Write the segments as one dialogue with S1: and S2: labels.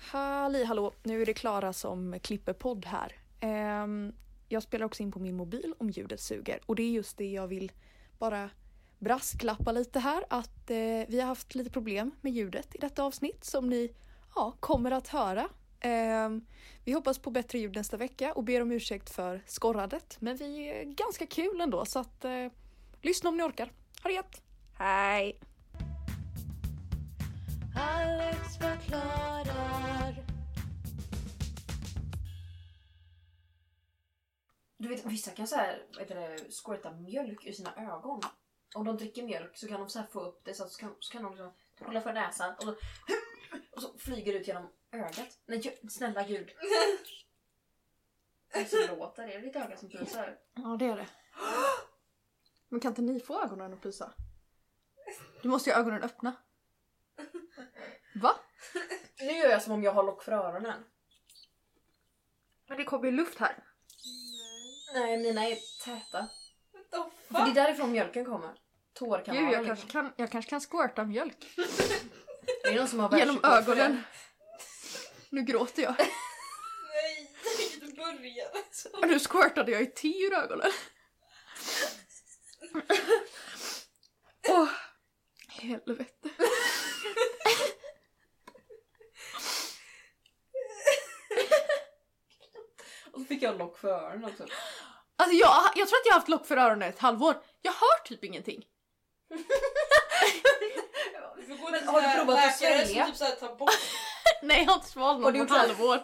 S1: Halli hallå, nu är det Klara som klipper podd här. Ehm, jag spelar också in på min mobil om ljudet suger och det är just det jag vill bara brasklappa lite här att eh, vi har haft lite problem med ljudet i detta avsnitt som ni ja, kommer att höra. Ehm, vi hoppas på bättre ljud nästa vecka och ber om ursäkt för skorrandet men vi är ganska kul ändå så att eh, lyssna om ni orkar. Ha det gött! Hej!
S2: Alex förklarar.
S3: Du vet, vissa kan så här, vad heter det, squirta mjölk ur sina ögon. Om de dricker mjölk så kan de så här få upp det så, att, så, kan, så kan de liksom hålla för näsan och så, och så flyger det ut genom ögat. Nej, gö- snälla gud. Och så låter det. Det är ditt öga som pyser.
S1: Ja, det är det. Men kan inte ni få ögonen att pysa? Du måste ju ha ögonen öppna. Va?
S3: Nu gör jag som om jag har lock för öronen.
S1: Men det kommer ju luft här.
S3: Nej, mina är täta.
S2: What the
S3: För det
S2: fuck?
S3: är därifrån mjölken kommer. Tårkanalen.
S1: Gud, jag
S3: liksom.
S1: kanske kan, jag kanske kan squirta mjölk
S3: Det är någon som har
S1: genom
S3: världsrekord för det.
S1: ögonen. Nu gråter jag.
S2: Nej, jag tänker inte börja. Alltså.
S1: Och nu squirtade jag i te ur ögonen. Åh, helvete.
S3: Och så fick jag lock för öronen också.
S1: Alltså jag, jag tror att jag har haft lock för öronen ett halvår. Jag hör typ ingenting.
S2: Du får gå
S3: Men
S2: till
S3: har du
S2: sån här
S3: provat att
S2: läkare
S3: svälja?
S2: som typ så här tar bort.
S1: Nej, jag har inte svalt något
S3: Har du
S1: på ett
S3: gjort det?
S1: halvår.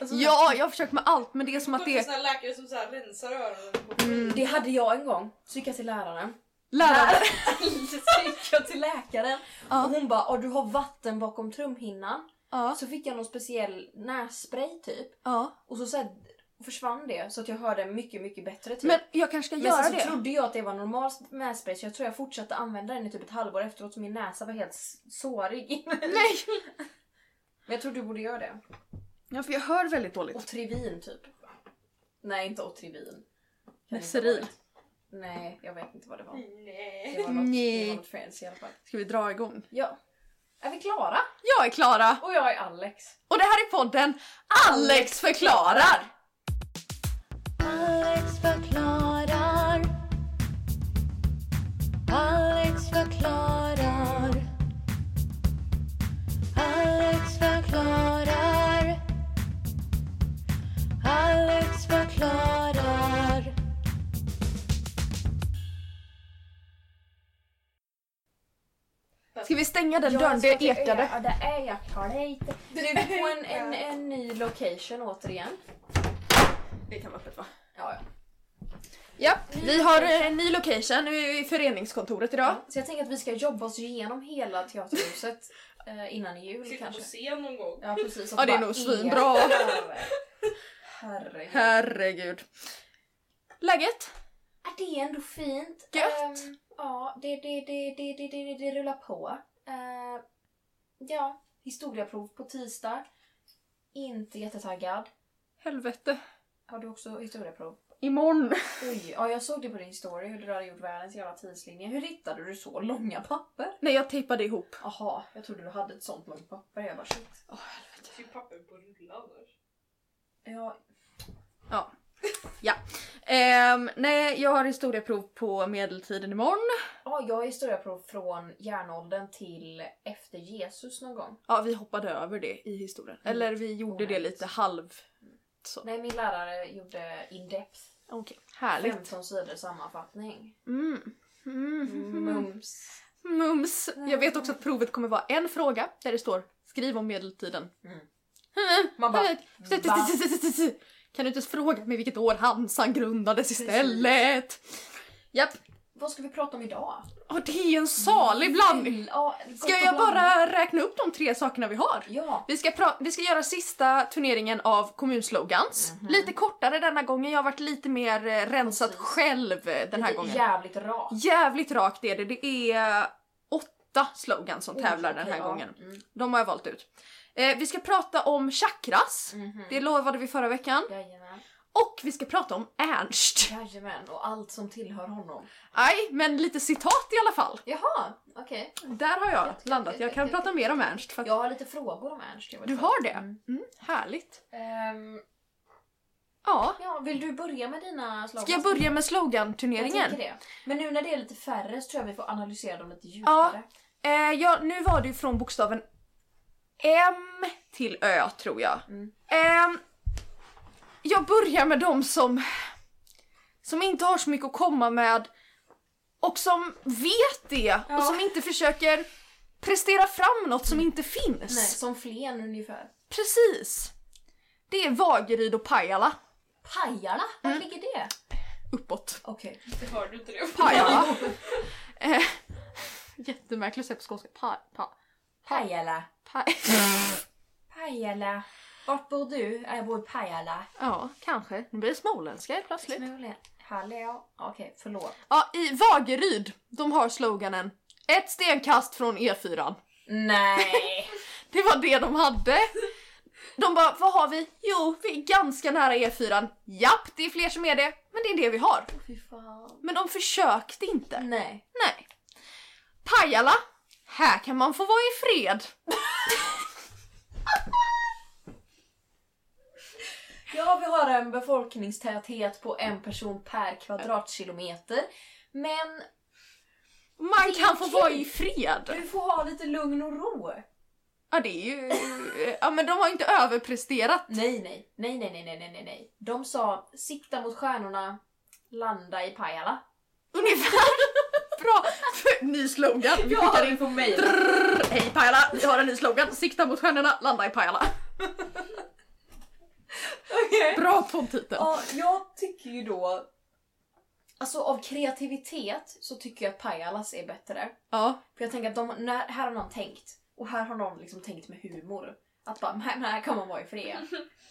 S3: Alltså,
S1: Ja, jag har försökt med allt men det är som
S2: Gå
S1: att
S2: till
S1: det är
S2: sån här läkare som så här rensar öronen.
S3: Det hade jag en gång. Så gick jag till läraren.
S1: lärare.
S3: så gick jag till läkaren
S1: Ja.
S3: och hon bara "Ah, du har vatten bakom trumhinnan.
S1: Ja,
S3: Så fick jag någon speciell nässpray typ
S1: ja.
S3: och så, så här, försvann det så att jag hörde mycket mycket bättre typ.
S1: Men jag kanske ska
S3: Men
S1: göra
S3: sen så
S1: det.
S3: trodde jag att det var normal nässpray så jag tror jag fortsatte använda den i typ ett halvår efteråt så min näsa var helt s- sårig inuti.
S1: Nej!
S3: Men jag tror du borde göra det.
S1: Ja, för jag hör väldigt dåligt.
S3: Otrivin typ. Nej inte Otrivin. Kan det inte
S1: Nesseril.
S3: ha varit? Nej jag vet inte vad det var.
S2: Nej.
S3: Det var något, det
S1: Nej.
S3: var något fancy i alla fall.
S1: Ska vi dra igång?
S3: Ja. Är vi klara?
S1: Jag är Klara
S3: Och jag är Alex.
S1: och det här är podden Alex förklarar!
S2: Alex förklarar. Alex förklarar. Alex förklarar. Alex förklarar.
S1: Ska vi stänga den
S3: Ja,
S1: dörren?
S3: alltså,
S1: Det ekade.
S3: Ja, där är jag. Ta dig inte. Nu är vi på en, en, en ny location återigen.
S1: Det kan vara öppet va?
S3: Ja, ja.
S1: Ja, vi har eh, en ny location. Nu är vi i föreningskontoret idag.
S3: Så jag tänker att vi ska jobba oss igenom hela teaterhuset eh, innan jul
S2: Sitta på
S3: kanske.
S2: scen någon gång.
S3: Ja, precis. att
S1: Ja, det är
S3: bara
S1: nog svinbra.
S3: ekar. Herregud.
S1: Herregud. Läget?
S3: Ja, det är ändå fint.
S1: Gött.
S3: Ehm, ja, det, det, det, det, det, det, det, det rullar på. Ehm, ja, historiaprov på tisdag. Inte jättetaggad.
S1: Helvete.
S3: Har du också historiaprov?
S1: Imorgon.
S3: Oj, ja jag såg det på din story hur du hade gjort världens jävla tidslinje. Hur hittade du så långa papper?
S1: Nej, jag tejpade ihop.
S3: Aha, jag trodde du hade ett sånt långt papper. Jag bara shit.
S1: Åh, helvete.
S2: Det är ju Typ papper på rulle annars.
S3: Ja,
S1: Ehm, nej, jag har historieprov på medeltiden imorgon.
S3: ja jag är historiaprov från järnåldern till efter Jesus någon gång.
S1: Ja, vi hoppade över det i historien.
S3: Mm.
S1: Eller vi gjorde det
S3: Onödigt.
S1: lite halv...
S3: Nej, min lärare gjorde in depth.
S1: Okej, härligt.
S3: 15 sidor sammanfattning.
S1: Mm. Mm.
S3: Mums.
S1: Mums. Jag vet också att provet kommer vara en fråga där det står skriv om medeltiden. Mm.
S3: Man bara, va?
S1: Kan du inte ens fråga mig vilket år Hansan grundades istället? Japp.
S3: Vad ska vi prata om idag?
S1: Och det är ju en salig blandning.
S3: Ja, Mm. gott
S1: Ska
S3: och
S1: jag
S3: blandat.
S1: bara räkna upp de tre sakerna vi har?
S3: Ja.
S1: Vi ska, pra- vi ska göra sista turneringen av kommunslogans. Lite kortare denna gången, jag har varit lite mer eh, rensat
S3: Mhm. Precis.
S1: själv eh, den här
S3: lite
S1: gången.
S3: Jävligt rakt.
S1: Jävligt rakt är det, det är åtta slogans som tävlar
S3: Oj,
S1: den
S3: okej,
S1: här
S3: ja.
S1: gången.
S3: Mm.
S1: De har jag valt ut. Eh, vi ska prata om chakras,
S3: Mhm.
S1: det lovade vi förra veckan.
S3: Jajamän.
S1: Och vi ska prata om Ernst.
S3: Jajamän, och allt som tillhör honom.
S1: Aj, men lite citat i alla fall.
S3: Jaha, okej.
S1: Där har jag landat. Jag kan prata mer om Ernst. För att
S3: Jag har lite frågor om Ernst. Jag vet
S1: du
S3: inte.
S1: har det?
S3: Mm.
S1: Mm, härligt.
S3: Ehm,
S1: Ja.
S3: ja, vill du börja med dina slag?
S1: Ska jag börja med
S3: Jag
S1: sloganturneringen?
S3: tänker det. Men nu när det är lite färre så tror jag vi får analysera dem lite
S1: Ja.
S3: djupare.
S1: Eh, ja, nu var det ju från bokstaven M till Ö tror jag.
S3: Mm.
S1: Ehm, jag börjar med de som, som inte har så mycket att komma med och som vet det
S3: Ja.
S1: och som inte försöker prestera fram något som inte finns.
S3: Nej, som Flen ungefär.
S1: Precis. Det är Vageryd och Pajala.
S3: Pajala, var
S1: Mm.
S3: ligger det?
S1: Uppåt.
S3: Okej.
S2: Hörde du inte det?
S1: Pajala. eh, jättemärkligt att säga på skånska. Pa, pa,
S3: Pajala.
S1: pa.
S3: Pajala. Vart bor du? Ja, Jag bor i Pajala.
S1: Ja, kanske. Nu blir det småländska helt plötsligt.
S3: Smulen. Hallå. Okej, förlåt.
S1: Ja, i Vageryd, de har sloganen Ett stenkast från E4.
S3: Nej!
S1: Det var det de hade. De bara, vad har vi? Jo, vi är ganska nära E4. Japp, det är fler som är det, men det är det vi har.
S3: Fy fan.
S1: Men de försökte inte.
S3: Nej.
S1: Nej. Pajala, här kan man få vara i fred.
S3: Ja, vi har en befolkningstäthet på en person per kvadratkilometer. Men
S1: Man
S3: Det är
S1: kan få
S3: okej.
S1: vara i fred.
S3: du får ha lite lugn och ro.
S1: Ja, det är ju... Ja, men de har ju inte överpresterat.
S3: Nej, nej, nej, nej, nej, nej, nej, nej, nej. De sa sikta mot stjärnorna, landa i Pajala.
S1: Ungefär. Bra. Ny slogan. Vi skickar in
S3: på mig.
S1: Hej Pajala, vi har en ny slogan. Sikta mot stjärnorna, landa i Pajala. Bra poddtitel.
S3: Ja, jag tycker ju då... Alltså av kreativitet så tycker jag att Pajalas är bättre.
S1: Ja.
S3: För jag tänker att de, när, här har någon tänkt. Och här har någon liksom tänkt med humor. Att bara, men men här kan man vara i fred.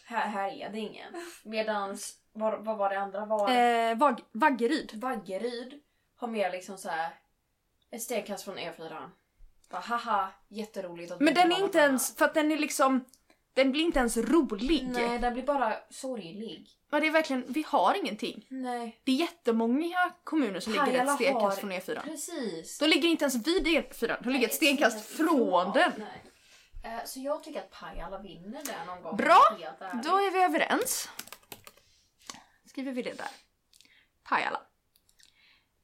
S3: här, här är det ingen. Medans, var, vad var det andra? Var...
S1: Eh, Vag- Vaggeryd.
S3: Vaggeryd har mer liksom så här ett stenkast från E4. Bara, haha, jätteroligt att
S1: Men
S3: vi
S1: den
S3: har
S1: är inte
S3: varandra."
S1: ens, för att den är liksom, den blir inte ens rolig.
S3: Nej, den blir bara sorglig.
S1: Ja, det är verkligen, vi har ingenting.
S3: Nej,
S1: Det är jättemånga kommuner som ligger
S3: Pajala
S1: ett stenkast
S3: har-
S1: från E E4.
S3: precis.
S1: De ligger inte ens vid E4, de ligger ett stenkast från den.
S3: Nej. Eh, Så jag tycker att Pajala vinner där någon gång.
S1: Bra,
S3: Helt ärligt.
S1: Då är vi överens. Skriver vi det där. Pajala.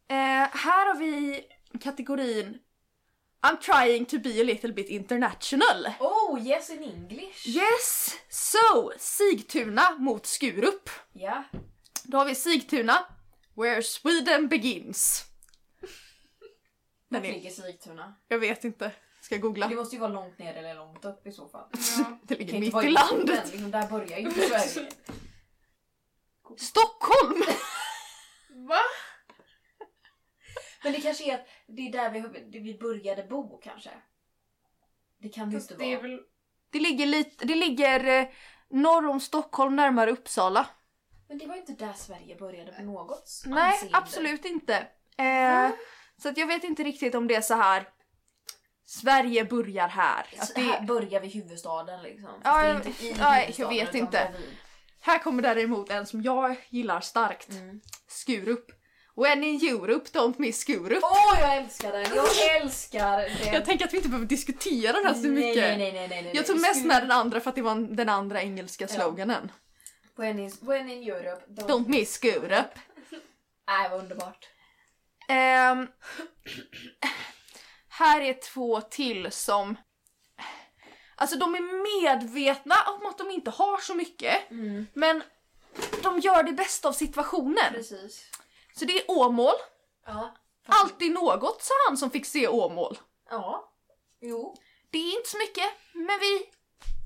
S1: Eh, här har vi kategorin I'm trying to be a little bit international.
S3: Oh, yes in English!
S1: Yes! So, Sigtuna mot Skurup.
S3: Ja.
S1: Då har vi Sigtuna, where Sweden begins.
S3: Vart
S1: Den är,
S3: ligger Sigtuna?
S1: jag vet inte, ska jag googla?
S3: Det måste ju vara långt ner eller långt upp i så fall.
S1: Det
S3: Det
S1: ligger
S3: kan inte
S1: mitt
S3: vara
S1: i landet.
S3: mitten, Liksom, där börjar ju inte Sverige.
S1: Stockholm!
S2: Va?
S3: Men det kanske är att det är där vi, det vi började bo kanske. Det kan det ju inte
S2: Fast det är
S3: vara.
S2: väl...
S1: Det ligger, lite, det ligger eh, norr om Stockholm, närmare Uppsala.
S3: Men det var ju inte där Sverige började på något
S1: Nej,
S3: anseende.
S1: absolut inte. Eh, så att jag vet inte riktigt om det är så här. Sverige börjar här. Att
S3: Så Alltså, här
S1: det,
S3: börjar vi huvudstaden liksom. Fast
S1: Ja,
S3: det är
S1: jag-
S3: inte i
S1: ja, jag
S3: huvudstaden,
S1: vet
S3: utan
S1: inte.
S3: bredvid.
S1: här kommer däremot en som jag gillar starkt.
S3: Mm.
S1: Skurup. When in Europe, don't miss Skurup.
S3: Åh, jag älskar den! Jag älskar den!
S1: Jag tänker att vi inte behöver diskutera den här så mycket.
S3: Nej, nej, nej, nej, nej, nej.
S1: Jag tog mest
S3: Skulle-
S1: med den andra för att det var en- den andra engelska
S3: Ja.
S1: sloganen.
S3: When in, when in Europe, don't...
S1: Don't miss Skurup.
S3: Nej, vad underbart.
S1: Ehm, här är två till som... Alltså de är medvetna om att de inte har så mycket,
S3: Mm.
S1: men de gör det bästa av situationen.
S3: Precis.
S1: Så det är Åmål.
S3: Ja. fast-
S1: Alltid något, sa han som fick se Åmål.
S3: Ja. Jo.
S1: Det är inte så mycket, men vi,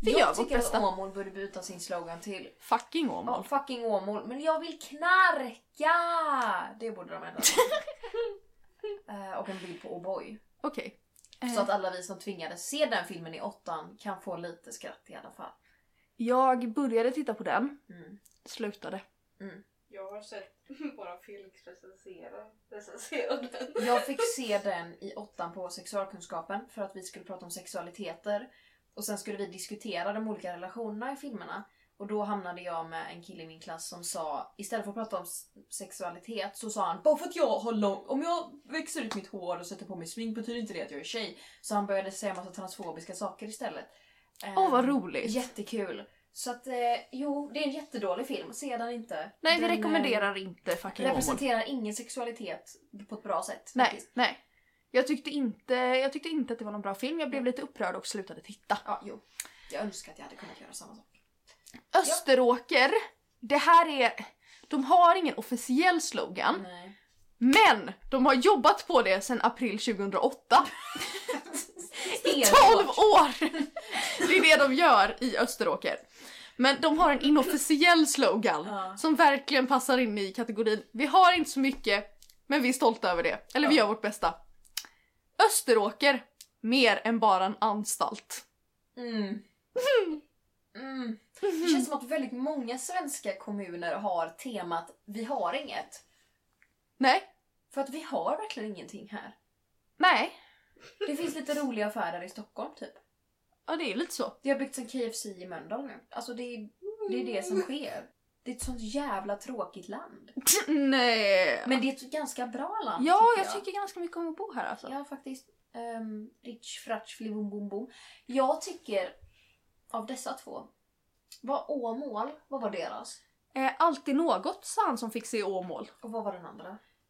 S1: vi
S3: jag
S1: gör vårt
S3: tycker
S1: bästa.
S3: att Åmål borde byta sin slogan till
S1: Fucking
S3: Ja,
S1: Åmål.
S3: fucking Åmål. Men jag vill knarka! Det borde de ändra. Eh, och en bild på O'boy.
S1: Okej. Eh. Ehm,
S3: Så att alla vi som tvingades se den filmen i åttan kan få lite skratt i alla fall.
S1: Jag började titta på den,
S3: Mm.
S1: slutade.
S2: Jag har sett bara Felix recensera, recensera den.
S3: Jag fick se den i åttan på sexualkunskapen för att vi skulle prata om sexualiteter. Och sen skulle vi diskutera de olika relationerna i filmerna. Och då hamnade jag med en kille i min klass som sa, istället för att prata om s- sexualitet så sa han bara för att jag har lång, om jag växer ut mitt hår och sätter på mig smink betyder inte det att jag är tjej. Så han började säga massa transfobiska saker istället.
S1: Åh
S3: Ehm,
S1: vad roligt!
S3: Jättekul. Så att eh, jo, det är en jättedålig film. Se den inte.
S1: Nej vi
S3: Den, eh,
S1: rekommenderar inte fucking Åmål.
S3: Representerar ingen sexualitet på ett bra sätt.
S1: Nej,
S3: faktiskt.
S1: nej. Jag tyckte, inte, jag tyckte inte att det var någon bra film, jag blev lite upprörd och slutade titta.
S3: Ja, jo. Jag önskar att jag hade kunnat göra samma sak.
S1: Österåker, det här är... De har ingen officiell slogan,
S3: Nej.
S1: men de har jobbat på det sedan april 2008.
S3: Helt
S1: 12 år! Det är det de gör i Österåker. Men de har en inofficiell slogan
S3: Ja.
S1: som verkligen passar in i kategorin vi har inte så mycket men vi är stolta över det. Eller vi
S3: Ja.
S1: gör vårt bästa. Österåker, mer än bara en anstalt.
S3: Mm. Mm. Det känns som att väldigt många svenska kommuner har temat vi har inget.
S1: Nej,
S3: För att vi har verkligen ingenting här.
S1: nej.
S3: Det finns lite roliga affärer i Stockholm typ.
S1: Ja det är lite så.
S3: Det har byggts en KFC i Mölndal nu. Alltså det är, det är det som sker. Det är ett sånt jävla tråkigt land.
S1: Mm, nej.
S3: Men det är ett ganska bra land
S1: ja, jag tycker ganska mycket om att bo här alltså.
S3: Ja, faktiskt. Um, rich, fratch, flibom, bom, bom. Jag tycker, av dessa två, var Åmål, vad var deras?
S1: Eh, alltid något sa han som fick se Åmål.
S3: Och vad var den andra?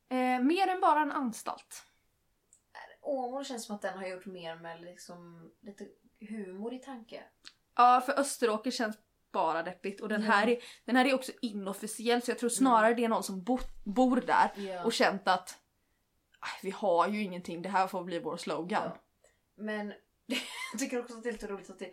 S1: Eh, mer än bara en anstalt.
S3: Åmål känns som att den har gjort mer med liksom lite humor i tanke.
S1: Ja, för Österåker känns bara deppigt och den,
S3: Ja.
S1: här, är, den här är också inofficiell så jag tror snarare det är någon som bo, bor där och
S3: Och-
S1: känt att "Aj, vi har ju ingenting, det här får bli vår slogan.
S3: Ja. Men jag tycker också att det är lite roligt att det,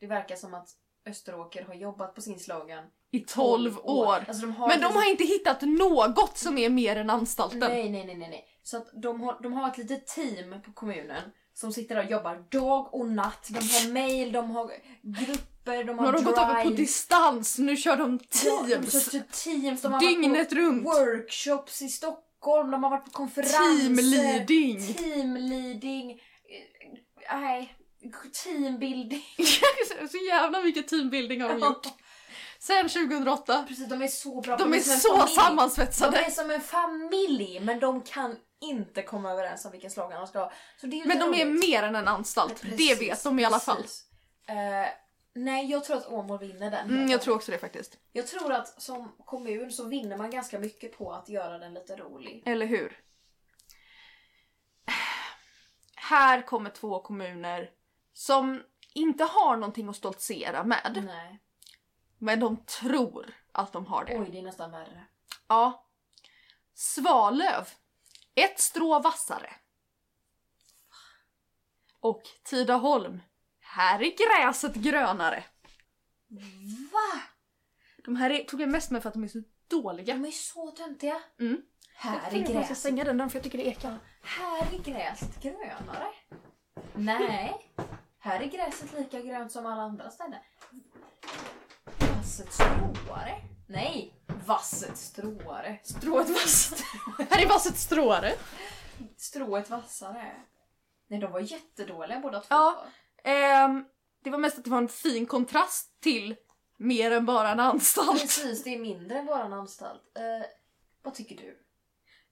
S3: det verkar som att Österåker har jobbat på sin slogan
S1: I 12 år.
S3: Alltså, de har
S1: Men de
S3: liksom-
S1: har inte hittat något som är mer än anstalten.
S3: Nej, nej, nej, nej, nej. Så att de har, de har ett litet team på kommunen som sitter där och jobbar dag och natt. De har mail, de har grupper, de
S1: Nu
S3: har
S1: har de gått över på
S3: drive.
S1: distans, nu kör de
S3: Ja, de
S1: teams.
S3: kör typ teams. De har varit
S1: Dygnet
S3: på
S1: runt.
S3: workshops i Stockholm, de har varit på konferenser.
S1: Teamleading.
S3: Teamleading. Eh, Nej, teambuilding.
S1: så jävla mycket teambuilding har de gjort. Sen 2008.
S3: Precis, de är så bra. på-
S1: De är
S3: som en
S1: så
S3: familj. De
S1: sammansvetsade.
S3: är som en familj, men de kan inte komma överens om vilken slogan de ska ha. Så det är ju
S1: Men
S3: lite
S1: de är
S3: roligt.
S1: mer än en anstalt. Det vet de i alla fall.
S3: Precis. Eh, nej, jag tror att Åmål vinner den.
S1: Mm, jag tror också det faktiskt.
S3: jag tror att som kommun så vinner man ganska mycket på att göra den lite rolig.
S1: Eller hur? Här kommer två kommuner som inte har någonting att stoltsera med.
S3: Nej.
S1: Men de tror att de har det.
S3: Oj, det är nästan värre.
S1: Ja. Svalöv. Ett strå vassare. Och Tidaholm. Här är gräset grönare.
S3: Va?
S1: De här är, tog jag mest med för att de är så dåliga.
S3: De är så töntiga.
S1: Mm.
S3: Här
S1: jag tror
S3: är
S1: jag ska
S3: gräset.
S1: stänga den dörren för jag tycker det ekar.
S3: Här är gräset grönare. Nej. Här är gräset lika grönt som alla andra ställen. Vasset stråare. Nej. Vasset stråare.
S1: Strået vassare. här är vasset stråare.
S3: Strået vassare. Nej, de var jättedåliga båda två.
S1: Ja. Ehm, det var mest att det var en fin kontrast till mer än bara en anstalt.
S3: Precis, det är mindre än våran anstalt. Eh, vad tycker du?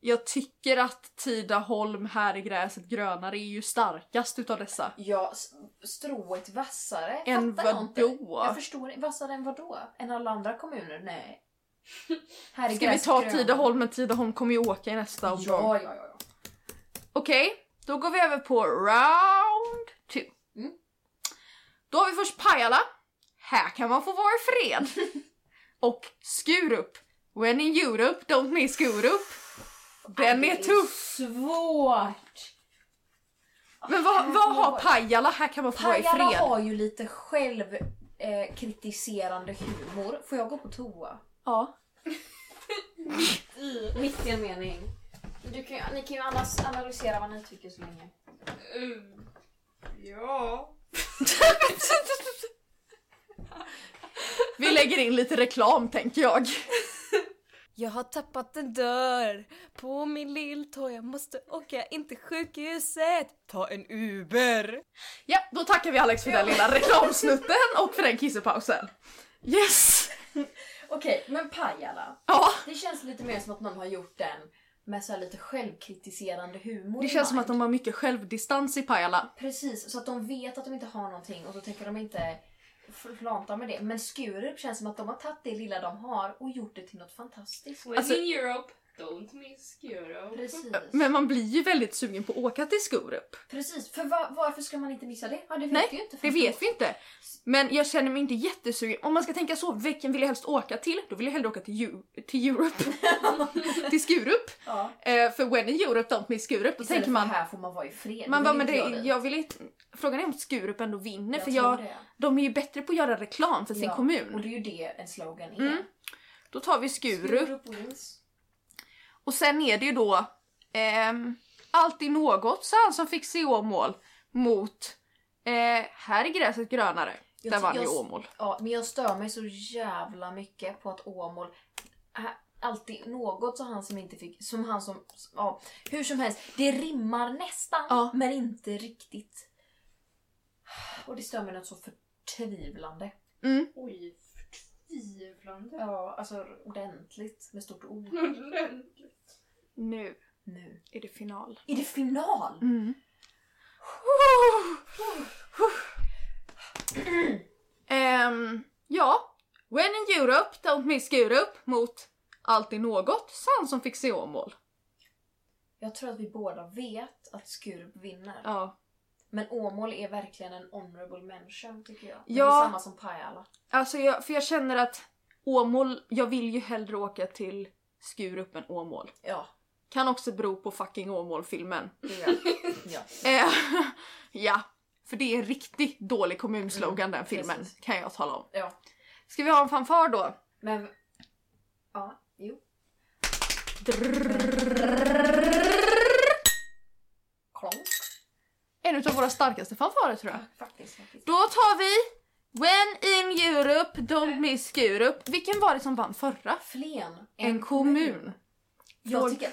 S1: Jag tycker att Tidaholm, här är gräset grönare, är ju starkast utav dessa.
S3: Ja, s- strået vassare.
S1: Än
S3: Fattar jag inte.
S1: vadå?
S3: Jag förstår inte. Vassare än vadå? Än alla andra kommuner? Nej. Här är
S1: Ska vi
S3: gräset
S1: ta
S3: grönare.
S1: Tidaholm? Men Tidaholm kommer ju åka i nästa omgång.
S3: Ja, ja, ja. ja.
S1: Okej, då går vi över på round two.
S3: Mm.
S1: Då har vi först Pajala. Här kan man få vara i fred. Och Skurup. When in Europe, don't miss Skurup. Den
S3: Det
S1: är tuff.
S3: Svårt!
S1: Men vad, vad har
S3: Herregud.
S1: Pajala? Här kan man få vara i
S3: Pajala
S1: fred.
S3: har ju lite självkritiserande humor. Får jag gå på toa?
S1: Ja.
S3: Mitt i en mening. Du kan, ju- ni kan ju annars analysera vad ni tycker så länge.
S2: Mm. Ja.
S1: Vi lägger in lite reklam tänker jag.
S4: Jag har tappat en dörr på min lilltå. Jag måste åka in till sjukhuset. Ta en Uber.
S1: Ja, då tackar vi Alex för den lilla reklamsnutten och för den kissepausen. Yes!
S3: Okej, men Pajala.
S1: Ja.
S3: Det känns lite mer som att någon har gjort den med så här lite självkritiserande humor
S1: Det
S3: i
S1: känns som
S3: mind.
S1: att de har mycket självdistans i Pajala.
S3: Precis, så att de vet att de inte har någonting och så tänker de inte flanta med det. Men Skurup känns som att de har tagit det lilla de har och gjort det till något fantastiskt.
S2: When
S1: Alltså-
S2: in Europe, don't miss Europe.
S3: Precis.
S1: Men man blir ju väldigt sugen på att åka till Skurup.
S3: Precis, för va- varför ska man inte missa det? Ja, det vet
S1: Nej,
S3: vi ju inte.
S1: Det vet vi inte. Men jag känner mig inte jättesugen. Om man ska tänka så, vilken vill jag helst åka till? Då vill jag hellre åka till, Eu- till Europe. till Skurup.
S3: Ja.
S1: Eh, för when in Europe don't miss Skurup. Då
S3: Istället
S1: tänker
S3: för
S1: man,
S3: här får man vara i fred.
S1: man
S3: vill
S1: bara, men
S3: inte
S1: det,
S3: jag dit.
S1: jag vill inte... Frågan är om Skurup ändå vinner för
S3: tror
S1: jag,
S3: det.
S1: de är ju bättre på att göra reklam för sin
S3: Ja, Och
S1: kommun.
S3: det är ju det en slogan är.
S1: Mm. Då tar vi Skurup.
S3: wins.
S1: Och sen är det ju då ehm, alltid något, sa han som fick se Åmål mot eh, här är gräset grönare.
S3: Jag
S1: Där
S3: ty-
S1: vann
S3: jag
S1: ju
S3: s-
S1: Åmål.
S3: Ja, men jag stör mig så jävla mycket på att Åmål äh, alltid något så han som inte fick, som han som, ja, hur som helst, det rimmar nästan
S1: Ja.
S3: men inte riktigt. Och det stör mig något så förtvivlande.
S2: Oj, förtvivlande.
S3: Ja, alltså ordentligt med stort O
S1: Nu
S3: nu.
S1: är det final.
S3: Är det final?
S1: Mm. Ehm, ja, When in Europe, Don't Miss Europe mot Alltid något, sa han som fick se Åmål.
S3: Jag tror att vi båda vet att Skurup vinner.
S1: Ja.
S3: Men Åmål är verkligen en honorable mention tycker jag. Men
S1: Ja.
S3: Det är samma som Pajala.
S1: Alltså jag, för jag känner att Åmål, jag vill ju hellre åka till Skurup än Åmål.
S3: Ja,
S1: Kan också bero på fucking Åmål-filmen.
S3: det gör jag. ja.
S1: Eh, ja, för det är en riktigt dålig kommunslogan den filmen
S3: Mm, precis.
S1: kan jag tala om.
S3: Ja.
S1: Ska vi ha en fanfar då?
S3: Men... Ja, jo. Klonk.
S1: En av våra starkaste fanfarer tror jag.
S3: Faktiskt, faktiskt.
S1: Då tar vi When in Europe, Don't miss Europe. Vilken var det som vann förra?
S3: Flen.
S1: En kommun.
S3: Jag
S1: Fråg-
S3: tycker...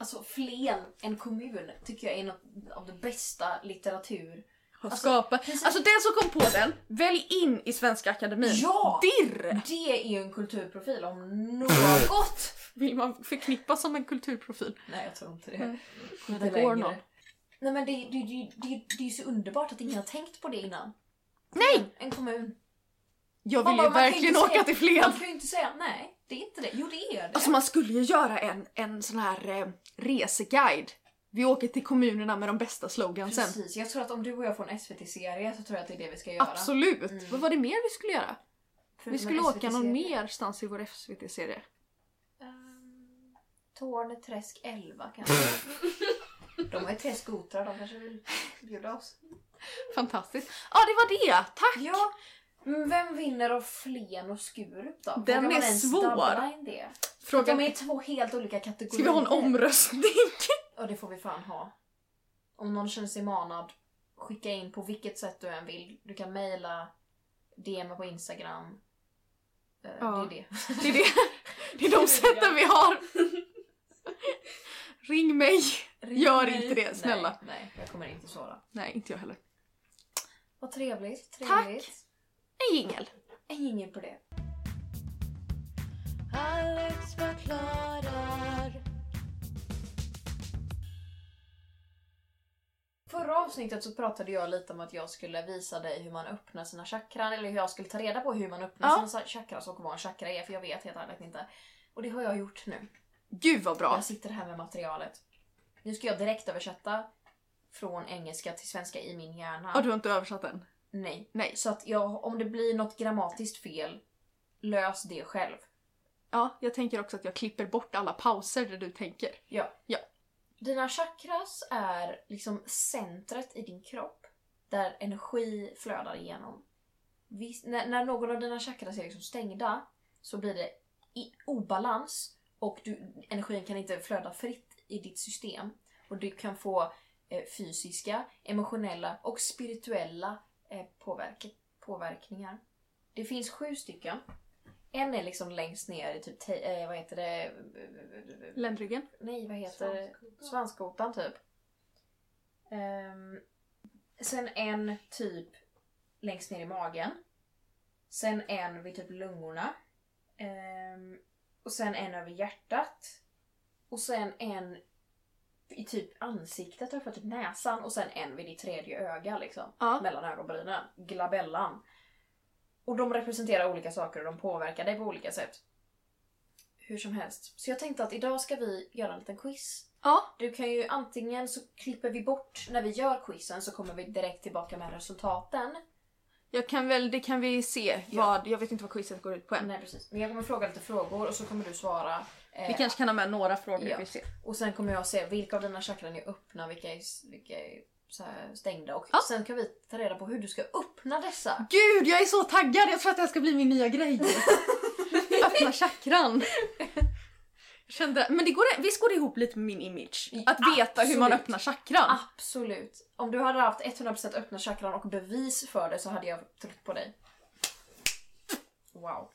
S3: Alltså Flen, en kommun, tycker jag är något av det bästa litteratur.
S1: Har
S3: Alltså,
S1: skapat.
S3: precis.
S1: Alltså den som kom på den, välj in i Svenska Akademin.
S3: Ja!
S1: Dirr!
S3: Det är ju en kulturprofil om något!
S1: Vill man förknippas som en kulturprofil?
S3: Nej, jag tror inte det.
S1: Nej.
S3: Inte
S1: Det går
S3: längre.
S1: nog.
S3: Nej men det, det, det, det, det är ju så underbart att ingen har tänkt på det innan.
S1: Nej!
S3: En kommun.
S1: Jag
S3: Man
S1: vill
S3: bara,
S1: ju
S3: man kan ju
S1: verkligen
S3: inte
S1: åka
S3: se-
S1: till Flen.
S3: Man kan ju inte säga nej, det är inte det. Jo det är det.
S1: Alltså man skulle ju göra en, en sån här eh, reseguide. Vi åker till kommunerna med de bästa slogansen.
S3: Precis, jag tror att om du och jag får en SVT-serie så tror jag att det är det vi ska göra.
S1: Absolut!
S3: Mm.
S1: Vad var det mer vi skulle göra?
S3: För-
S1: vi
S3: men
S1: skulle åka
S3: SVT-serie.
S1: någon merstans i vår SVT-serie.
S3: Ehm, Torneträsk 11 kanske. de har ju tre skotrar, de kanske vill bjuda oss.
S1: Fantastiskt. Ja, det var det! Tack!
S3: Ja, men vem vinner av Flen och Skurup då?
S1: Den
S3: Vågar
S1: är
S3: man ens
S1: svår.
S3: dabbla in Det?
S1: Frågan
S3: De är två helt olika kategorier.
S1: Ska vi ha en omröstning?
S3: Ja, det får vi fan ha. Om någon känner sig manad, skicka in på vilket sätt du än vill. Du kan mejla, DM på Instagram. Eh,
S1: Ja.
S3: Det är det.
S1: Det är, det. det är de sätten vi har. Ring mig! Gör inte det, snälla.
S3: Nej, nej, jag kommer inte svara.
S1: Nej, inte jag heller.
S3: Vad trevligt.
S1: Tack.
S3: trevligt.
S1: En jingel.
S3: En jingel på det.
S4: Alex förklarar.
S3: Förra avsnittet så pratade jag lite om att jag skulle visa dig hur man öppnar sina chakran. Eller hur jag skulle ta reda på hur man öppnar
S1: Ja.
S3: sina sa- chakras och vad en chakra är. För jag vet helt ärligt inte. Och det har jag gjort nu.
S1: Gud vad bra!
S3: Jag sitter här med materialet. Nu ska jag direkt översätta från engelska till svenska i min hjärna.
S1: Ja, du har inte översatt den?
S3: Nej.
S1: Nej.
S3: Så att jag, om det blir något grammatiskt fel, lös det själv.
S1: Ja, jag tänker också att jag klipper bort alla pauser där du tänker.
S3: Ja.
S1: Ja.
S3: Dina chakras är liksom centret i din kropp där energi flödar igenom. Vis- när, när någon av dina chakras är liksom stängda så blir det i obalans och du, energin kan inte flöda fritt i ditt system. Och du kan få eh, fysiska, emotionella och spirituella eh, påverk- påverkningar. Det finns sju stycken. En är liksom längst ner i typ, te- eh, vad heter det?
S1: Ländryggen?
S3: Nej, vad heter det? Svanskotan typ. Ehm, sen en typ längst ner i magen. Sen en vid typ lungorna. Ehm, och sen en över hjärtat. Och sen en i typ ansiktet, har jag fått typ näsan. Och sen en vid ditt tredje öga liksom.
S1: Ja.
S3: Mellan ögonbrynen. Glabellan. Och de representerar olika saker och de påverkar dig på olika sätt. Hur som helst. Så jag tänkte att idag ska vi göra en liten quiz.
S1: Ja.
S3: Du kan ju antingen så klipper vi bort när vi gör quizen så kommer vi direkt tillbaka med resultaten.
S1: Jag kan väl, det kan vi se.
S3: Ja.
S1: Vad, jag vet inte vad quizet går ut på än.
S3: Nej precis. Men jag kommer fråga lite frågor och så kommer du svara. eh,
S1: Vi kanske kan ha med några frågor.
S3: Ja.
S1: Vi ser.
S3: Och sen kommer jag se vilka av dina chakran är öppna vilka är, vilka är så här stängda. Och
S1: Ja.
S3: sen kan vi ta reda på hur du ska öppna dessa.
S1: Gud, jag är så taggad! Jag tror att det här ska bli min nya grej. Öppna chakran. Jag Kände, men det går, visst går det ihop lite med min image? Att veta hur man
S3: Absolut.
S1: öppnar chakran.
S3: Absolut. Om du hade haft 100% öppna chakran och bevis för det så hade jag trott på dig. Wow.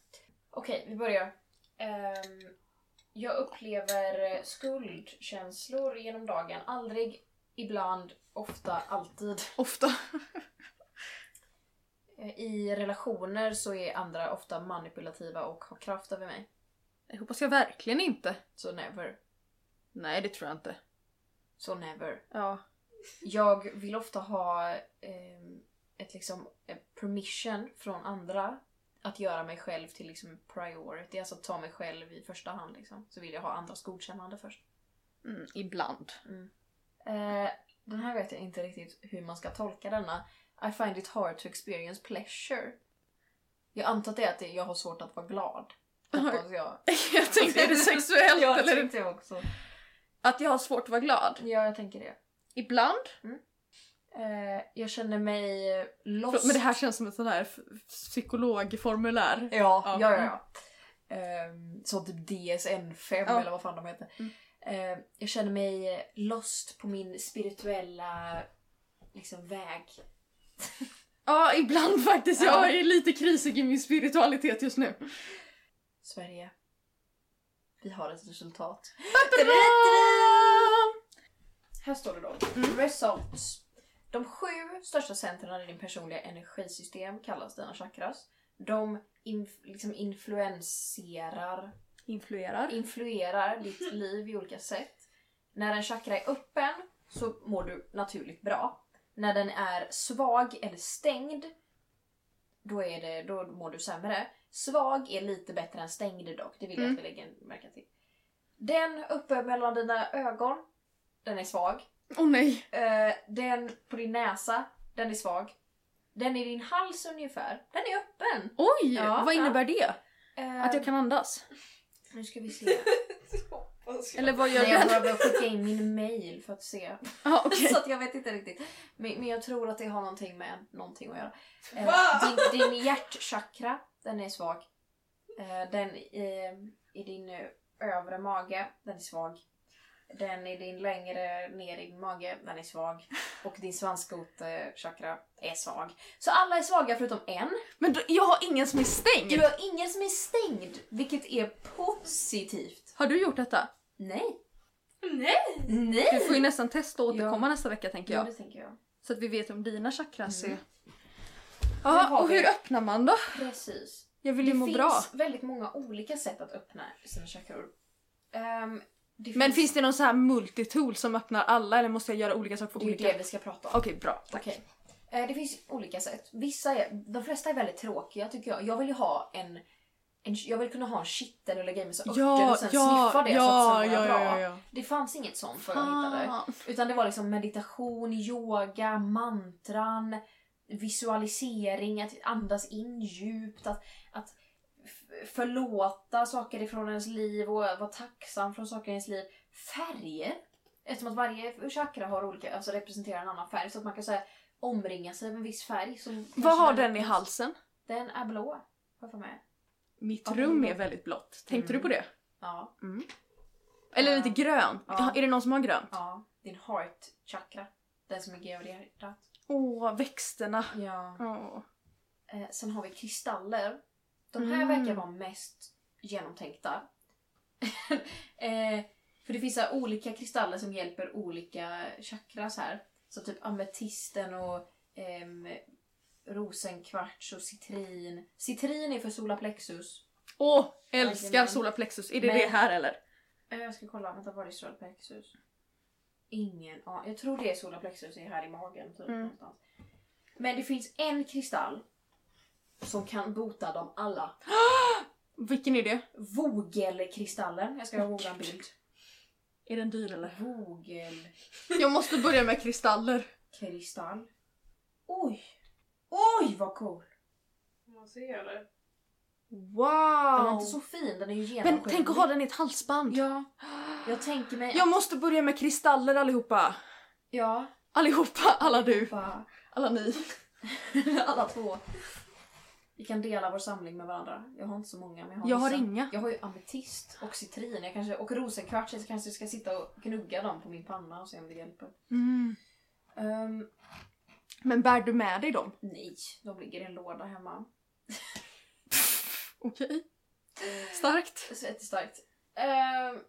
S3: Okej, vi börjar. Ehm, jag upplever skuldkänslor genom dagen. Aldrig, ibland, ofta, alltid.
S1: Ofta.
S3: Eh, I relationer så är andra ofta manipulativa och har kraft över mig.
S1: Det hoppas jag verkligen inte.
S3: Så never.
S1: Nej, det tror jag inte.
S3: Så never.
S1: Ja.
S3: Jag vill ofta ha ehm, ett liksom eh, permission från andra att göra mig själv till liksom en priority, alltså ta mig själv i första hand liksom. Så vill jag ha andras godkännande först.
S1: Mm, ibland.
S3: Eh, den här vet jag inte riktigt hur man ska tolka denna. I find it hard to experience pleasure. Jag antar att det är att det- jag har svårt att vara glad. Hoppas jag.
S1: jag tänkte, är det sexuellt
S3: Jag
S1: eller?
S3: tänkte också.
S1: Att jag har svårt att vara glad.
S3: Ja, jag tänker det.
S1: Ibland.
S3: Eh, jag känner mig lost.
S1: Förlåt, Men det här känns som ett sån här f- psykologformulär.
S3: Ja,
S1: Ja. Mm.
S3: ja, ja. ja. Ehm, så typ DSN5
S1: Ja.
S3: eller vad fan de heter.
S1: Mm.
S3: Ehm, jag känner mig lost på min spirituella liksom, väg.
S1: Ja, ibland faktiskt.
S3: Ja.
S1: Jag är lite krisig i min spiritualitet just nu.
S3: Sverige. Vi har ett resultat. Här står det då.
S1: Mm.
S3: Results. De sju största centren i din personliga energisystem kallas dina chakras. De inf- liksom influenserar
S1: Influerar.
S3: influerar ditt liv i olika sätt. När en chakra är öppen så mår du naturligt bra. När den är svag eller stängd då, är det, då mår du sämre. Svag är lite bättre än stängd dock, det vill jag
S1: Mm.
S3: att vi lägger märka till. Den uppe mellan dina ögon, den är svag.
S1: Åh nej.
S3: Eh, den på din näsa, den är svag. Den i din hals ungefär, den är öppen.
S1: Oj!
S3: Ja,
S1: vad
S3: ja.
S1: innebär det?
S3: Eh,
S1: Att jag kan andas?
S3: Nu ska vi se.
S1: Eller vad gör
S3: Nej, jag
S1: den?
S3: behöver skicka in min mail för att se.
S1: Ja, okej.
S3: Så att jag vet inte riktigt. Men, men jag tror att det har någonting med någonting att göra. Eh,
S2: Va?
S3: din, din hjärtchakra, den är svag. Eh, den i, i din eh, övre mage, den är svag. Den i din längre ner i din mage, den är svag. Och din svanskotchakra är svag. Så alla är svaga förutom en.
S1: Men då, jag har ingen som är
S3: Du
S1: stängd.
S3: har ingen som är stängd, vilket är positivt.
S1: Har du gjort detta?
S3: Nej.
S2: Nej!
S3: Nej!
S1: Du får ju nästan testa och
S3: Ja.
S1: återkomma nästa vecka tänker
S3: Ja,
S1: jag.
S3: det tänker jag.
S1: Så att vi vet om dina chakras
S3: Mm.
S1: är...
S3: Där har
S1: Ja, och
S3: vi.
S1: hur öppnar man då?
S3: Precis.
S1: Jag vill
S3: Det
S1: ju må
S3: finns
S1: bra.
S3: väldigt många olika sätt att öppna sina chakror. Ehm, det
S1: Men finns det någon sån här multitool som öppnar alla eller måste jag göra olika saker på
S3: det är ju
S1: olika?
S3: det vi ska prata om.
S1: Okej, bra. Tack.
S3: Okej. Eh, det finns olika sätt. Vissa är, de flesta är väldigt tråkiga tycker jag. Jag vill ju ha en, en jag vill kunna ha en kittel och lägga i mig så örter och sen sniffa det så att sen mår jag bra. Det fanns inget sånt förrän jag hittade.
S1: Fan.
S3: Utan det var liksom meditation, yoga, mantran, visualisering, att andas in djupt, att, att f- förlåta saker ifrån ens liv och vara tacksam från saker i ens liv. Färger! Eftersom att varje chakra har olika, alltså representerar en annan färg så att man kan säga omringa sig med en viss färg. Så
S1: Vad
S3: kanske
S1: har den i halsen?
S3: Den är blå. Har jag för mig.
S1: Mitt
S3: Ja,
S1: rum
S3: men-
S1: är väldigt blått. Tänkte
S3: Mm.
S1: du på det?
S3: Ja,
S1: Eller
S3: Ja.
S1: lite grönt?
S3: Ja.
S1: Är det någon som har grönt?
S3: ja. Din heart chakra. Den som är över i hjärtat.
S1: Åh, växterna.
S3: Ja.
S1: Åh.
S3: Eh, sen har vi kristaller. De här
S1: Mm.
S3: verkar vara mest genomtänkta. eh, för det finns så här olika kristaller som hjälper olika chakras här. Så typ ametisten och ehm, rosenkvarts och citrin. Citrin är för solarplexus.
S1: Åh, älskar
S3: Jajamän.
S1: solarplexus. Är det
S3: Men-
S1: det här eller?
S3: Eh, Jag ska kolla, vänta var är solarplexus? Ingen aning. Jag tror det är solarplexus är här i magen typ
S1: Mm.
S3: någonstans. Men det finns en kristall som kan bota dem alla.
S1: Vilken är det?
S3: Vogelkristallen. Jag ska googla en bild.
S1: Är den dyr eller?
S3: Vogelkristall.
S1: Jag måste börja med kristaller.
S3: Oj! Oj vad cool!
S2: Man ser det.
S3: Den är
S1: Wow!
S3: inte så fin, den är ju
S1: Men
S3: genomskinlig.
S1: tänk att ha den i ett halsband.
S3: Ja, jag tänker mig...
S1: Jag måste börja med kristaller allihopa.
S3: ja.
S1: Allihopa, alla du,
S3: Bara,
S1: alla ni.
S3: alla två. Vi kan dela vår samling med varandra. Jag har inte så många men jag har
S1: Jag har
S3: vissa.
S1: inga.
S3: Jag har ju ametist och citrin jag kanske, och rosenkvarts. så Jag kanske ska sitta och gnugga dem på min panna och se om det hjälper.
S1: Mm.
S3: Ehm,
S1: Men bär du med dig dem?
S3: nej, de ligger i en låda hemma.
S1: Okej. Starkt.
S3: Svettigt starkt. Ehm,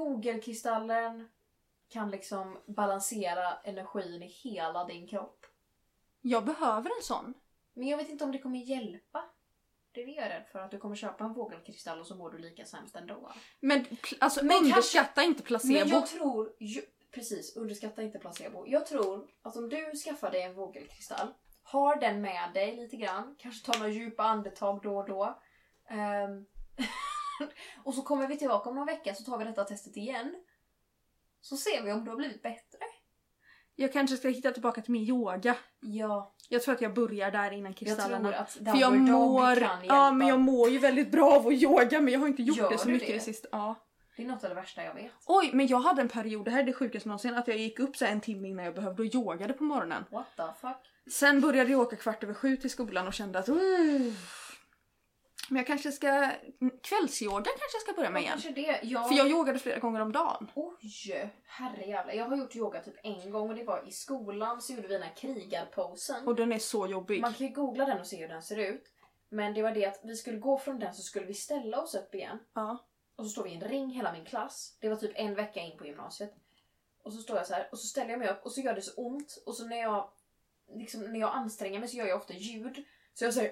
S3: vogelkristallen kan liksom balansera energin i hela din kropp.
S1: Jag behöver en sån.
S3: Men jag vet inte om det kommer hjälpa. Det är det jag är rädd för. Att du kommer köpa en vogelkristall och så mår du lika sämst ändå.
S1: Men pl- alltså,
S3: Men kanske-
S1: underskatta inte placebo.
S3: Men jag tror, ju, precis, underskatta inte placebo. Jag tror att om du skaffar dig en vogelkristall, har den med dig lite grann, kanske tar några djupa andetag då och då. ehm, och så kommer vi tillbaka om någon vecka så tar vi detta testet igen. Så ser vi om du har blivit bättre.
S1: Jag kanske ska hitta tillbaka till min yoga.
S3: Ja,
S1: Jag tror att jag börjar där innan
S3: jag tror
S1: kristallerna.
S3: att
S1: För jag
S3: Downward Dog
S1: mår,
S3: kan hjälpa.
S1: ja, men jag mår ju väldigt bra av att yoga men jag har inte gjort
S3: Gör
S1: det så
S3: du
S1: mycket det,
S3: det?
S1: sista. Ja.
S3: Det är något av det värsta jag vet.
S1: Oj, men jag hade en period, det här är det sjukaste någonsin, att jag gick upp så här en timme innan jag behövde och yogade på morgonen.
S3: What the fuck?
S1: Sen började jag åka kvart över sju till skolan och kände att "Uff." Men jag kanske ska... Kvällsyoga kanske jag ska börja med
S3: Ja,
S1: igen.
S3: Kanske det. Ja.
S1: För jag yogade flera gånger om dagen.
S3: Oj! Herrejävlar. Jag har gjort yoga typ en gång och det var i skolan så gjorde vi den här krigarposen.
S1: Och den är så jobbig.
S3: Man kan ju googla den och se hur den ser ut. Men det var det att vi skulle gå från den så skulle vi ställa oss upp igen.
S1: Ja.
S3: Och så står vi i en ring hela min klass. Det var typ en vecka in på gymnasiet. Och så står jag så här och så ställer jag mig upp och så gör det så ont. Och så när jag, liksom, när jag anstränger mig så gör jag ofta ljud. Så jag säger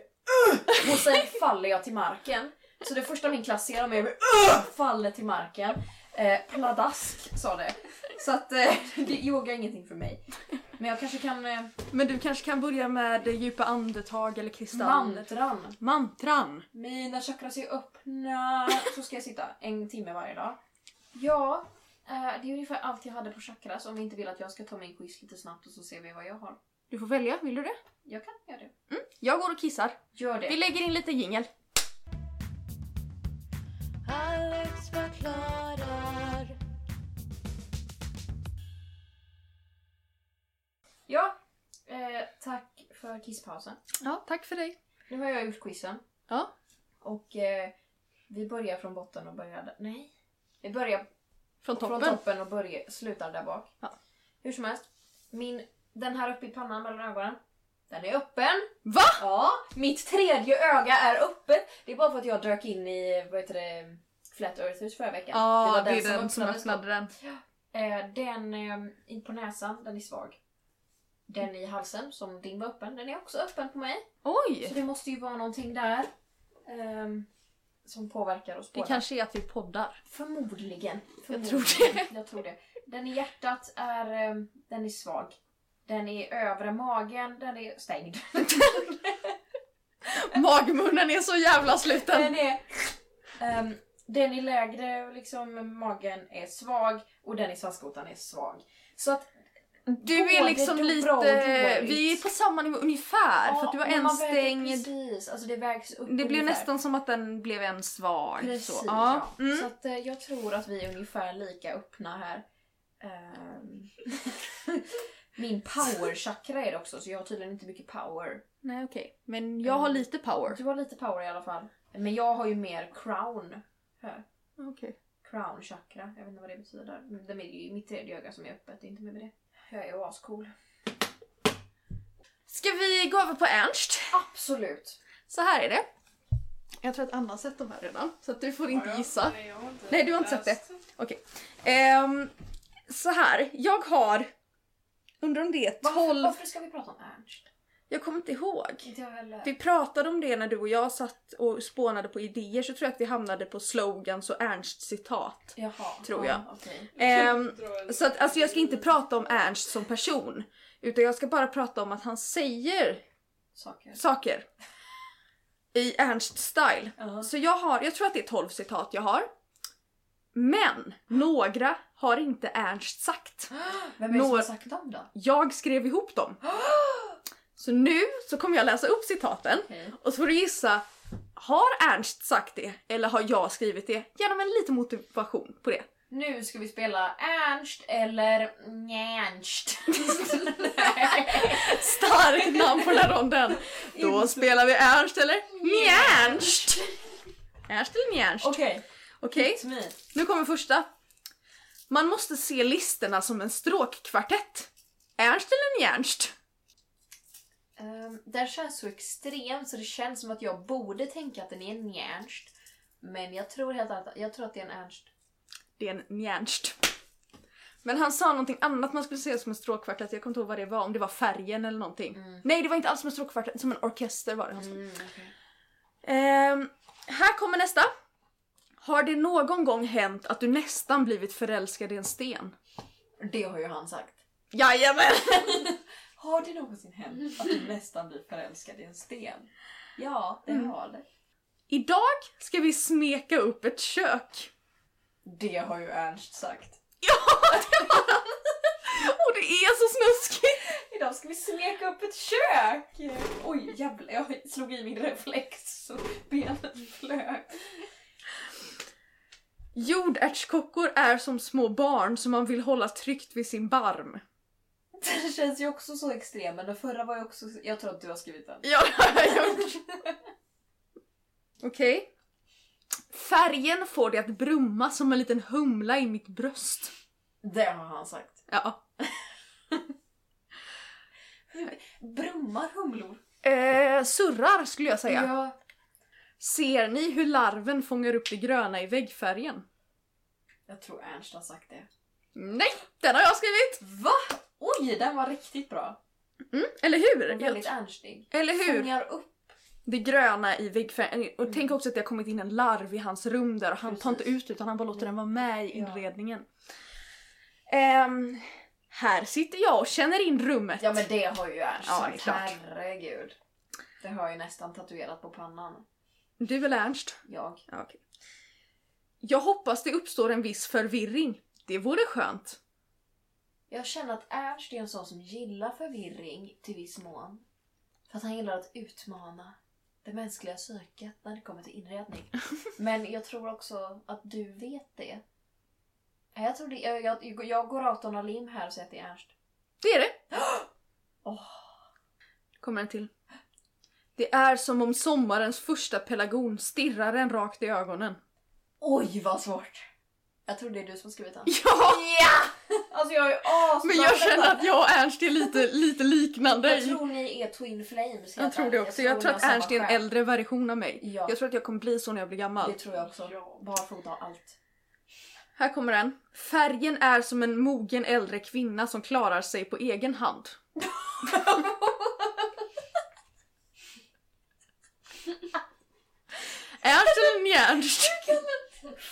S3: "Ugh!" och sen faller jag till marken. Så det första min klass ser om mig är "Ugh!" faller till marken. Eh, pladask sa det. Så att eh, det, yoga är ingenting för mig. Men jag kanske kan... Eh,
S1: Men du kanske kan börja med eh, djupa andetag eller kristaller.
S3: mantran.
S1: Mantran.
S3: Mina chakras är öppna. Så ska jag sitta en timme varje dag. Ja, eh, det är ungefär allt jag hade på chakras om vi inte vill att jag ska ta min quiz lite snabbt och så ser vi vad jag har.
S1: Du får välja, vill du det?
S3: Jag kan göra det.
S1: Jag går och kissar.
S3: Gör
S1: Vi
S3: det.
S1: lägger in lite jingel.
S4: Alex förklarar.
S3: Ja, eh, tack för kisspausen.
S1: Ja, tack för dig.
S3: Nu har jag gjort quizen.
S1: Ja.
S3: Och eh, vi börjar från botten och börjar där. Nej. Vi börjar
S1: Från toppen.
S3: från toppen och börjar, slutar där bak.
S1: Ja.
S3: Hur som helst. Min, den här uppe i pannan mellan ögonen. Den är öppen.
S1: Va?
S3: Ja, mitt tredje öga är öppet. Det är bara för att jag dök in i vad heter det, Flat Earthers förra veckan.
S1: Ja, det,
S3: var
S1: är den som
S3: öppnades.
S1: öppnade den.
S3: Eh, den eh, in på näsan, den är svag. Den i halsen som din var öppen, den är också öppen på mig. Så
S1: Oj!
S3: det måste ju vara någonting där ehm, som påverkar oss
S1: Det
S3: båda.
S1: kanske är att vi poddar.
S3: Förmodligen.
S1: Jag
S3: Förmodligen.
S1: tror
S3: Jag tror det. Den i hjärtat är, ehm, den är svag. Den i övre magen, den är stängd.
S1: Magmunnen är så jävla
S3: Den
S1: sluten.
S3: är... Ehm, den är lägre, liksom magen är svag och den i svanskotan är svag. Så att
S1: Du är
S3: Både
S1: liksom
S3: bra och
S1: lite...
S3: dåligt.
S1: Vi är på samma nivå ungefär. för att du har
S3: men
S1: en
S3: man väger
S1: stängd.
S3: Precis, alltså det vägs upp
S1: Det blev
S3: ungefär.
S1: nästan som att den blev en svag.
S3: Precis,
S1: så.
S3: ja.
S1: Ja. Mm.
S3: Så att eh, jag tror att vi är ungefär lika öppna här. Ehm, Min power-chakra är det också, så jag har tydligen inte mycket power.
S1: Nej okej. Men jag har lite power.
S3: Du har lite power i alla fall. Men jag har ju mer crown.
S1: Okej.
S3: Crown chakra. Jag vet inte vad det betyder. Men Det är ju mitt tredje öga som är öppet, det är inte mer med det. Jag är ju ascool.
S1: Ska vi gå över på Ernst?
S3: Absolut!
S1: Så här är det. Jag tror att Anna har sett de här redan. Så att du får inte
S2: Ja,
S1: gissa.
S2: Nej, jag har inte
S1: Nej, du har inte sett
S2: läst.
S1: Okej. Ehm, så här. Jag har... Undrar om det är
S3: Varför,
S1: 12...
S3: varför ska vi prata om Ernst? Typ-
S1: Jag kommer inte ihåg.
S3: Inte jag heller.
S1: Vi pratade om det när du och jag satt och spånade på idéer så tror jag att vi hamnade på slogans och Ernst-citat.
S3: Jaha.
S1: Tror jag.
S3: Ja, okej.
S1: Ehm,
S2: Dra en-
S1: så att, alltså jag ska inte prata om Ernst som person. Utan jag ska bara prata om att han säger
S3: Saker.
S1: saker. I Ernst-style.
S3: Ja.
S1: Så jag har, jag tror att det är 12 citat jag har. Men några har inte Ernst sagt.
S3: Vem är det som
S1: Några-
S3: har sagt dem då?
S1: Jag skrev ihop dem. Så nu så kommer jag läsa upp citaten
S3: Okej.
S1: och så får du gissa, har Ernst sagt det eller har jag skrivit det? Genom en liten motivation på det.
S3: Nu ska vi spela Ernst eller Njernst. Nej.
S1: Starkt namn på den här ronden. Då spelar vi Ernst eller Njernst. Ernst eller Njernst.
S3: Okej,
S1: Okej,
S3: it's me.
S1: nu kommer första. Man måste se listerna som en stråkkvartett. Ernst eller Njernst?
S3: Ehm, det här känns så extremt så det känns som att jag borde tänka att den är en Ernst. Men jag tror helt att, jag tror att det är en Ernst.
S1: Det är en Njernst. Men han sa någonting annat man skulle se som en stråkkvartett. Jag kommer inte ihåg vad det var, om det var färgen eller någonting. Nej, det var inte alls som en stråkkvartett, som en orkester var det han sa. Ehm, här kommer nästa. Har det någon gång hänt att du nästan blivit förälskad i en sten?
S3: Det har ju han sagt.
S1: Jajamän!
S3: Har det någonsin hänt att du nästan blir förälskad i en sten? Ja, det har det.
S1: Idag ska vi smeka upp ett kök.
S3: Det har ju Ernst sagt.
S1: Och det är så snuskigt!
S3: Idag ska vi smeka upp ett kök! Oj, jävlar. Jag slog i min reflex så benet flög.
S1: Jordärtskockor är som små barn som man vill hålla tryckt vid sin barm.
S3: Den känns ju också så extrem, men den förra var ju också... Jag tror att du har skrivit den.
S1: Ja, det har jag gjort. Okej. Färgen får det att brumma som en liten humla i mitt bröst.
S3: Det har han sagt.
S1: Ja.
S3: Brummar humlor?
S1: Eh, surrar skulle jag säga.
S3: Ja.
S1: Ser ni hur larven fångar upp det gröna i väggfärgen?
S3: Jag tror Ernst har sagt det.
S1: Nej, den har jag skrivit!
S3: Va? Oj, den var riktigt bra.
S1: Eller hur?
S3: Och väldigt
S1: Jag,
S3: Ernstig.
S1: eller hur?
S3: Fångar upp.
S1: Det gröna i väggfärgen. Och tänk också att det har kommit in en larv i hans rum där och han tar inte
S3: Mm. Precis.
S1: ut utan han bara låter den vara med i
S3: Ja.
S1: inredningen. Ehm, här sitter jag och känner in rummet.
S3: Ja, men det har ju Ernst
S1: Ja, det är
S3: sagt.
S1: klart.
S3: Herregud. Det har jag ju nästan tatuerat på pannan.
S1: Du eller Ernst?
S3: Jag.
S1: Ja, okej. Jag hoppas det uppstår en viss förvirring. Det vore skönt.
S3: Jag känner att Ernst är en sån som gillar förvirring till viss mån. För att han gillar att utmana det mänskliga psyket när det kommer till inredning. Men jag tror också att du vet det. Nej, Jag, tror det, jag, jag, jag går out on a limb här och säger att det är Ernst.
S1: Det är det.
S3: Åh.
S1: Kommer en till. Det är som om sommarens första pelargon stirrar en rakt i ögonen.
S3: Oj vad svårt! Jag tror det är du som har skrivit den.
S1: Ja!
S3: Alltså jag är asbra
S1: Men jag känner att jag och Ernst är lite, lite liknande.
S3: Jag
S1: i-
S3: tror ni är twin flames.
S1: Jag
S3: helt
S1: tror det
S3: ärligt.
S1: också. Jag tror
S3: ni
S1: att
S3: har
S1: Ernst är
S3: samma
S1: en
S3: själ.
S1: äldre version av mig.
S3: Ja.
S1: Jag tror att jag kommer bli så när jag blir gammal.
S3: Det tror jag också.
S2: Ja.
S3: Barfota och allt.
S1: Här kommer den. Färgen är som en mogen äldre kvinna som klarar sig på egen hand. Ernst eller Njernst?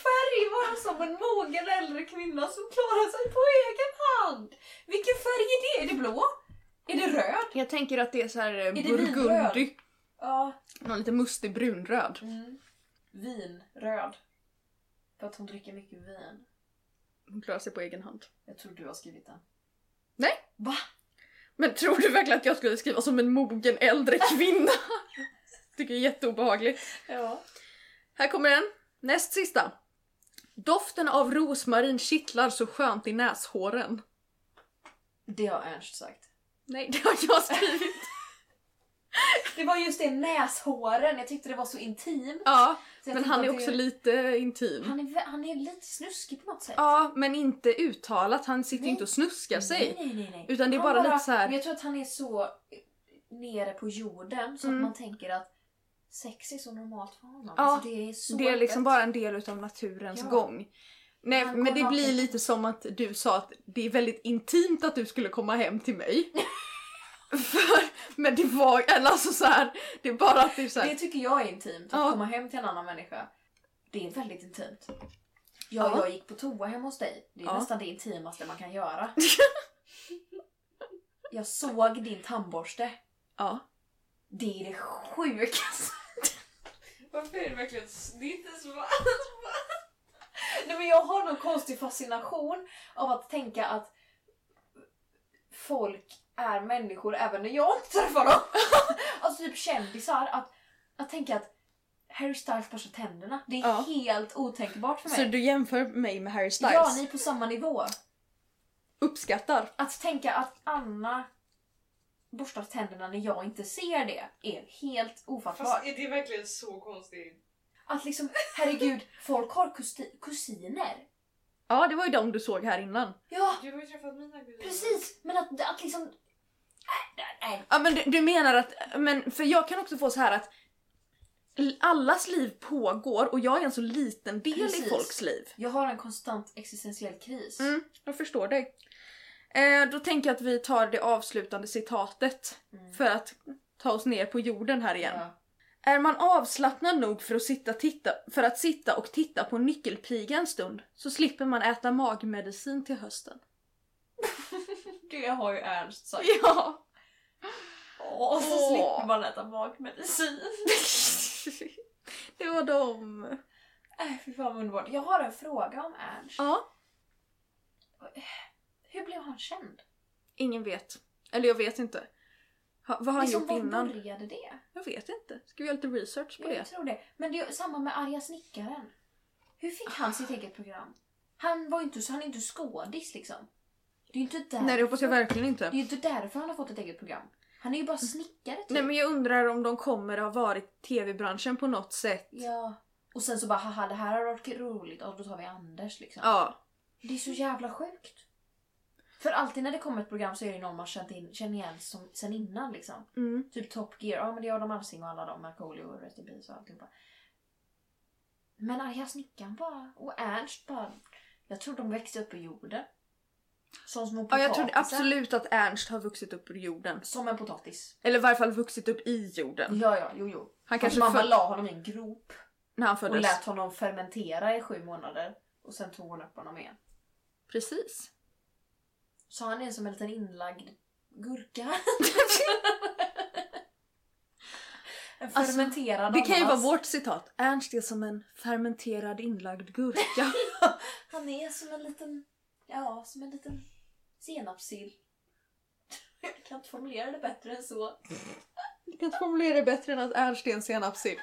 S3: Färg var som en mogen äldre kvinna som klarar sig på egen hand. Vilken färg är det? Är det blå? Är det röd?
S1: Jag tänker att det är så här eh,
S3: det
S1: burgundy.
S3: vinröd? Ja.
S1: Någon lite mustig brunröd.
S3: Mm. Vinröd. För att hon dricker mycket vin.
S1: Hon klarar sig på egen hand.
S3: Jag tror du har skrivit den.
S1: Nej.
S3: Va?
S1: Men tror du verkligen att jag skulle skriva som en mogen äldre kvinna? Tycker jag är jätteobehagligt.
S3: Ja.
S1: Här kommer den. Näst sista. Doften av rosmarin kittlar så skönt i näshåren.
S3: Det har Ernst sagt.
S1: Nej, det har jag skrivit.
S3: Det var just det, näshåren. Jag tyckte det var så intimt.
S1: Ja,
S3: Så jag
S1: men
S3: tyckte
S1: han är
S3: att
S1: också
S3: det...
S1: lite intim.
S3: Han är, vä- han är lite snuskig på något sätt.
S1: Ja, men inte uttalat. Han sitter ju
S3: Nej.
S1: inte och snuskar sig.
S3: Nej, nej, nej, nej.
S1: Utan det är
S3: Han
S1: bara lite så här-
S3: Men jag tror att han är så eh, nere på jorden så
S1: Mm.
S3: att man tänker att sex är så normalt för honom.
S1: Ja,
S3: alltså, det är så
S1: Det är liksom
S3: öppet.
S1: bara en del utav naturens
S3: Ja.
S1: gång. Nej,
S3: Han
S1: men
S3: går
S1: det
S3: naken.
S1: blir lite som att du sa att det är väldigt intimt att du skulle komma hem till mig. För Men det var, eller alltså så här, det är bara att det är så
S3: Det
S1: här,
S3: tycker jag är intimt, att
S1: Ja.
S3: komma hem till en annan människa. Det är väldigt intimt. Ja,
S1: Ja.
S3: jag gick på toa hemma hos dig. Det är
S1: Ja.
S3: nästan det intimaste man kan göra. jag såg din tandborste.
S1: ja.
S3: Det är det sjukaste.
S2: Varför är det verkligen... s- Det är inte så...
S3: Nej, men jag har någon konstig fascination av att tänka att folk är människor även när jag inte träffar dem. alltså typ kändisar. Att, att tänka att Harry Styles borstar tänderna. Det är
S1: Ja.
S3: helt otänkbart för mig.
S1: Så du jämför mig med Harry Styles?
S3: Ja, ni är på samma nivå.
S1: Uppskattar.
S3: Att tänka att Anna borstar tänderna när jag inte ser det är helt ofattbart.
S2: Fast är det verkligen så konstigt?
S3: Att liksom, herregud, folk har kusti- kusiner.
S1: Ja, det var ju de du såg här innan.
S3: Ja,
S2: Du har ju träffat mina kusiner.
S3: precis! Men att, att liksom... Nej, nej, nej.
S1: Ja, men du, du menar att, men för jag kan också få så här att l- allas liv pågår och jag är en så liten del i
S3: Precis.
S1: folks liv.
S3: Jag har en konstant existentiell kris.
S1: Mm, jag förstår dig. Eh, då tänker jag att vi tar det avslutande citatet
S3: Mm.
S1: för att ta oss ner på jorden här igen.
S3: Ja.
S1: Är man avslappnad nog för att, sitta, titta, för att sitta och titta på nyckelpiga en stund så slipper man äta magmedicin till hösten.
S3: Det har ju Ernst sagt.
S1: Ja!
S3: Åh, och så
S1: Åh.
S3: slipper man äta magmedicin.
S1: det var dem.
S3: Äh, fy fan vad underbart. Jag har en fråga om Ernst.
S1: Ja,
S3: Hur blev han känd?
S1: ingen vet. Eller jag vet inte. Ha, vad har han
S3: Liksom,
S1: gjort innan?
S3: Var började det?
S1: Jag vet inte. Ska vi göra lite research på
S3: Jag
S1: det?
S3: tror det. Men det är ju samma med Arga snickaren. Hur fick han sitt eget program? Han var ju inte, så han är inte skådis liksom. Det är ju inte därför.
S1: Nej, det hoppas jag verkligen inte.
S3: Det är ju inte därför han har fått ett eget program. Han är ju bara snickare typ.
S1: Nej men jag undrar om de kommer att ha varit tv-branschen på något sätt.
S3: Ja. Och sen så bara haha det här har varit roligt och då tar vi Anders liksom.
S1: Ja.
S3: Det är så jävla sjukt. För alltid när det kommer ett program så är det någon man känt in, känner igen som, sen innan liksom.
S1: Mm.
S3: Typ Top Gear, ja men det är Adam Alsing och alla de, Markoolio och Rest in Peace och alltihopa. Men arga snickaren bara, och Ernst bara. Jag tror de växte upp ur jorden. Som små
S1: ja
S3: potatisar.
S1: jag tror absolut att Ernst har vuxit upp ur jorden.
S3: Som en potatis.
S1: Eller i varje fall vuxit upp i jorden.
S3: Ja, ja, jo, jo.
S1: Han
S3: Hans
S1: kanske
S3: mamma
S1: föd-
S3: la honom i en grop
S1: när han
S3: och
S1: föddes.
S3: lät honom fermentera i sju månader. Och sen tog hon upp honom igen.
S1: Precis.
S3: Så han är som en liten inlagd gurka. en
S1: Alltså,
S3: fermenterad
S1: Det kan ju vara
S3: ananas.
S1: vårt citat. Ernst är som en fermenterad inlagd gurka.
S3: Han är som en liten... Ja, som en liten senapssill. Jag kan inte formulera det bättre än så.
S1: Jag kan inte formulera det bättre än att Ernst är en senapssill.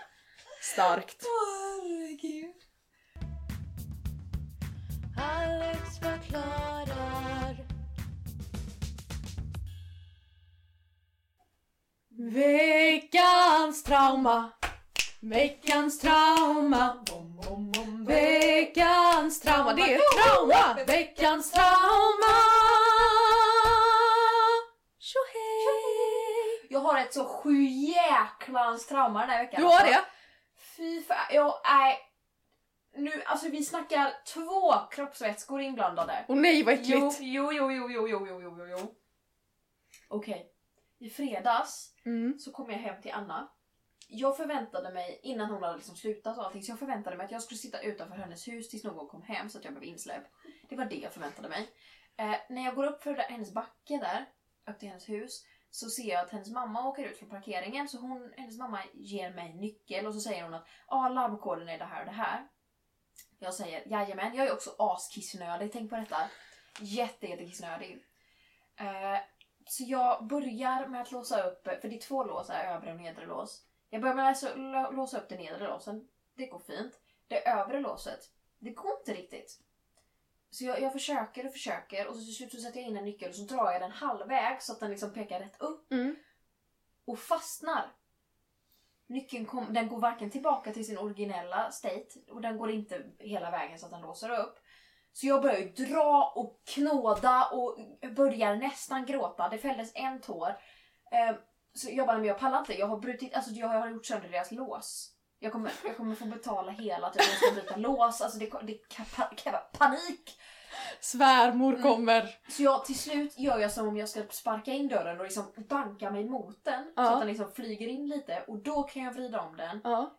S1: Starkt.
S4: Herregud. Alex förklarar.
S1: Veckans trauma. Veckans trauma. Veckans trauma. Det är trauma. Veckans trauma. Tjohej.
S3: Jag har ett så sju jäklans trauma den här veckan.
S1: Du har
S3: alltså.
S1: det?
S3: Fy fan, jag är... Nu, alltså vi snackar två kroppsvätskor inblandade.
S1: Åh nej vad
S3: Jo,
S1: äckligt.
S3: jo, jo, jo, jo, jo, jo, jo, jo. Okej. I fredags
S1: Mm.
S3: så kom jag hem till Anna. Jag förväntade mig, innan hon hade liksom slutat och allting, så jag förväntade mig att jag skulle sitta utanför hennes hus tills någon kom hem så att jag blev insläppt. Det var det jag förväntade mig. Eh, när jag går upp för hennes backe där, upp till hennes hus, så ser jag att hennes mamma åker ut från parkeringen så hon, hennes mamma ger mig nyckel och så säger hon att ah, larmkoden är det här och det här. Jag säger jajamän, jag är också askissnödig, tänk på detta. Jätte, jättekissnödig. Eh, så jag börjar med att låsa upp, för det är två lås här, övre och nedre lås. Jag börjar med att låsa- lå- låsa upp det nedre låsen, det går fint. Det övre låset, det går inte riktigt. Så jag, jag försöker och försöker och så till slut så sätter jag in en nyckel och så drar jag den halvvägs så att den liksom pekar rätt upp
S1: Mm.
S3: och fastnar. Nyckeln kom, den går varken tillbaka till sin originella state och den går inte hela vägen så att den låser upp. Så jag börjar ju dra och knåda och börjar nästan gråta. Det fälldes en tår. Ehm, så jag bara, men jag pallar inte. Jag har brutit, alltså jag har gjort sönder deras lås. Jag kommer, jag kommer få betala hela, typ jag ska byta lås. Alltså det, det kan, kan vara panik.
S1: Svärmor kommer.
S3: Så jag, till slut gör jag som om jag ska sparka in dörren och liksom banka mig mot den.
S1: Ja.
S3: Så att den liksom flyger in lite och då kan jag vrida om den.
S1: Ja.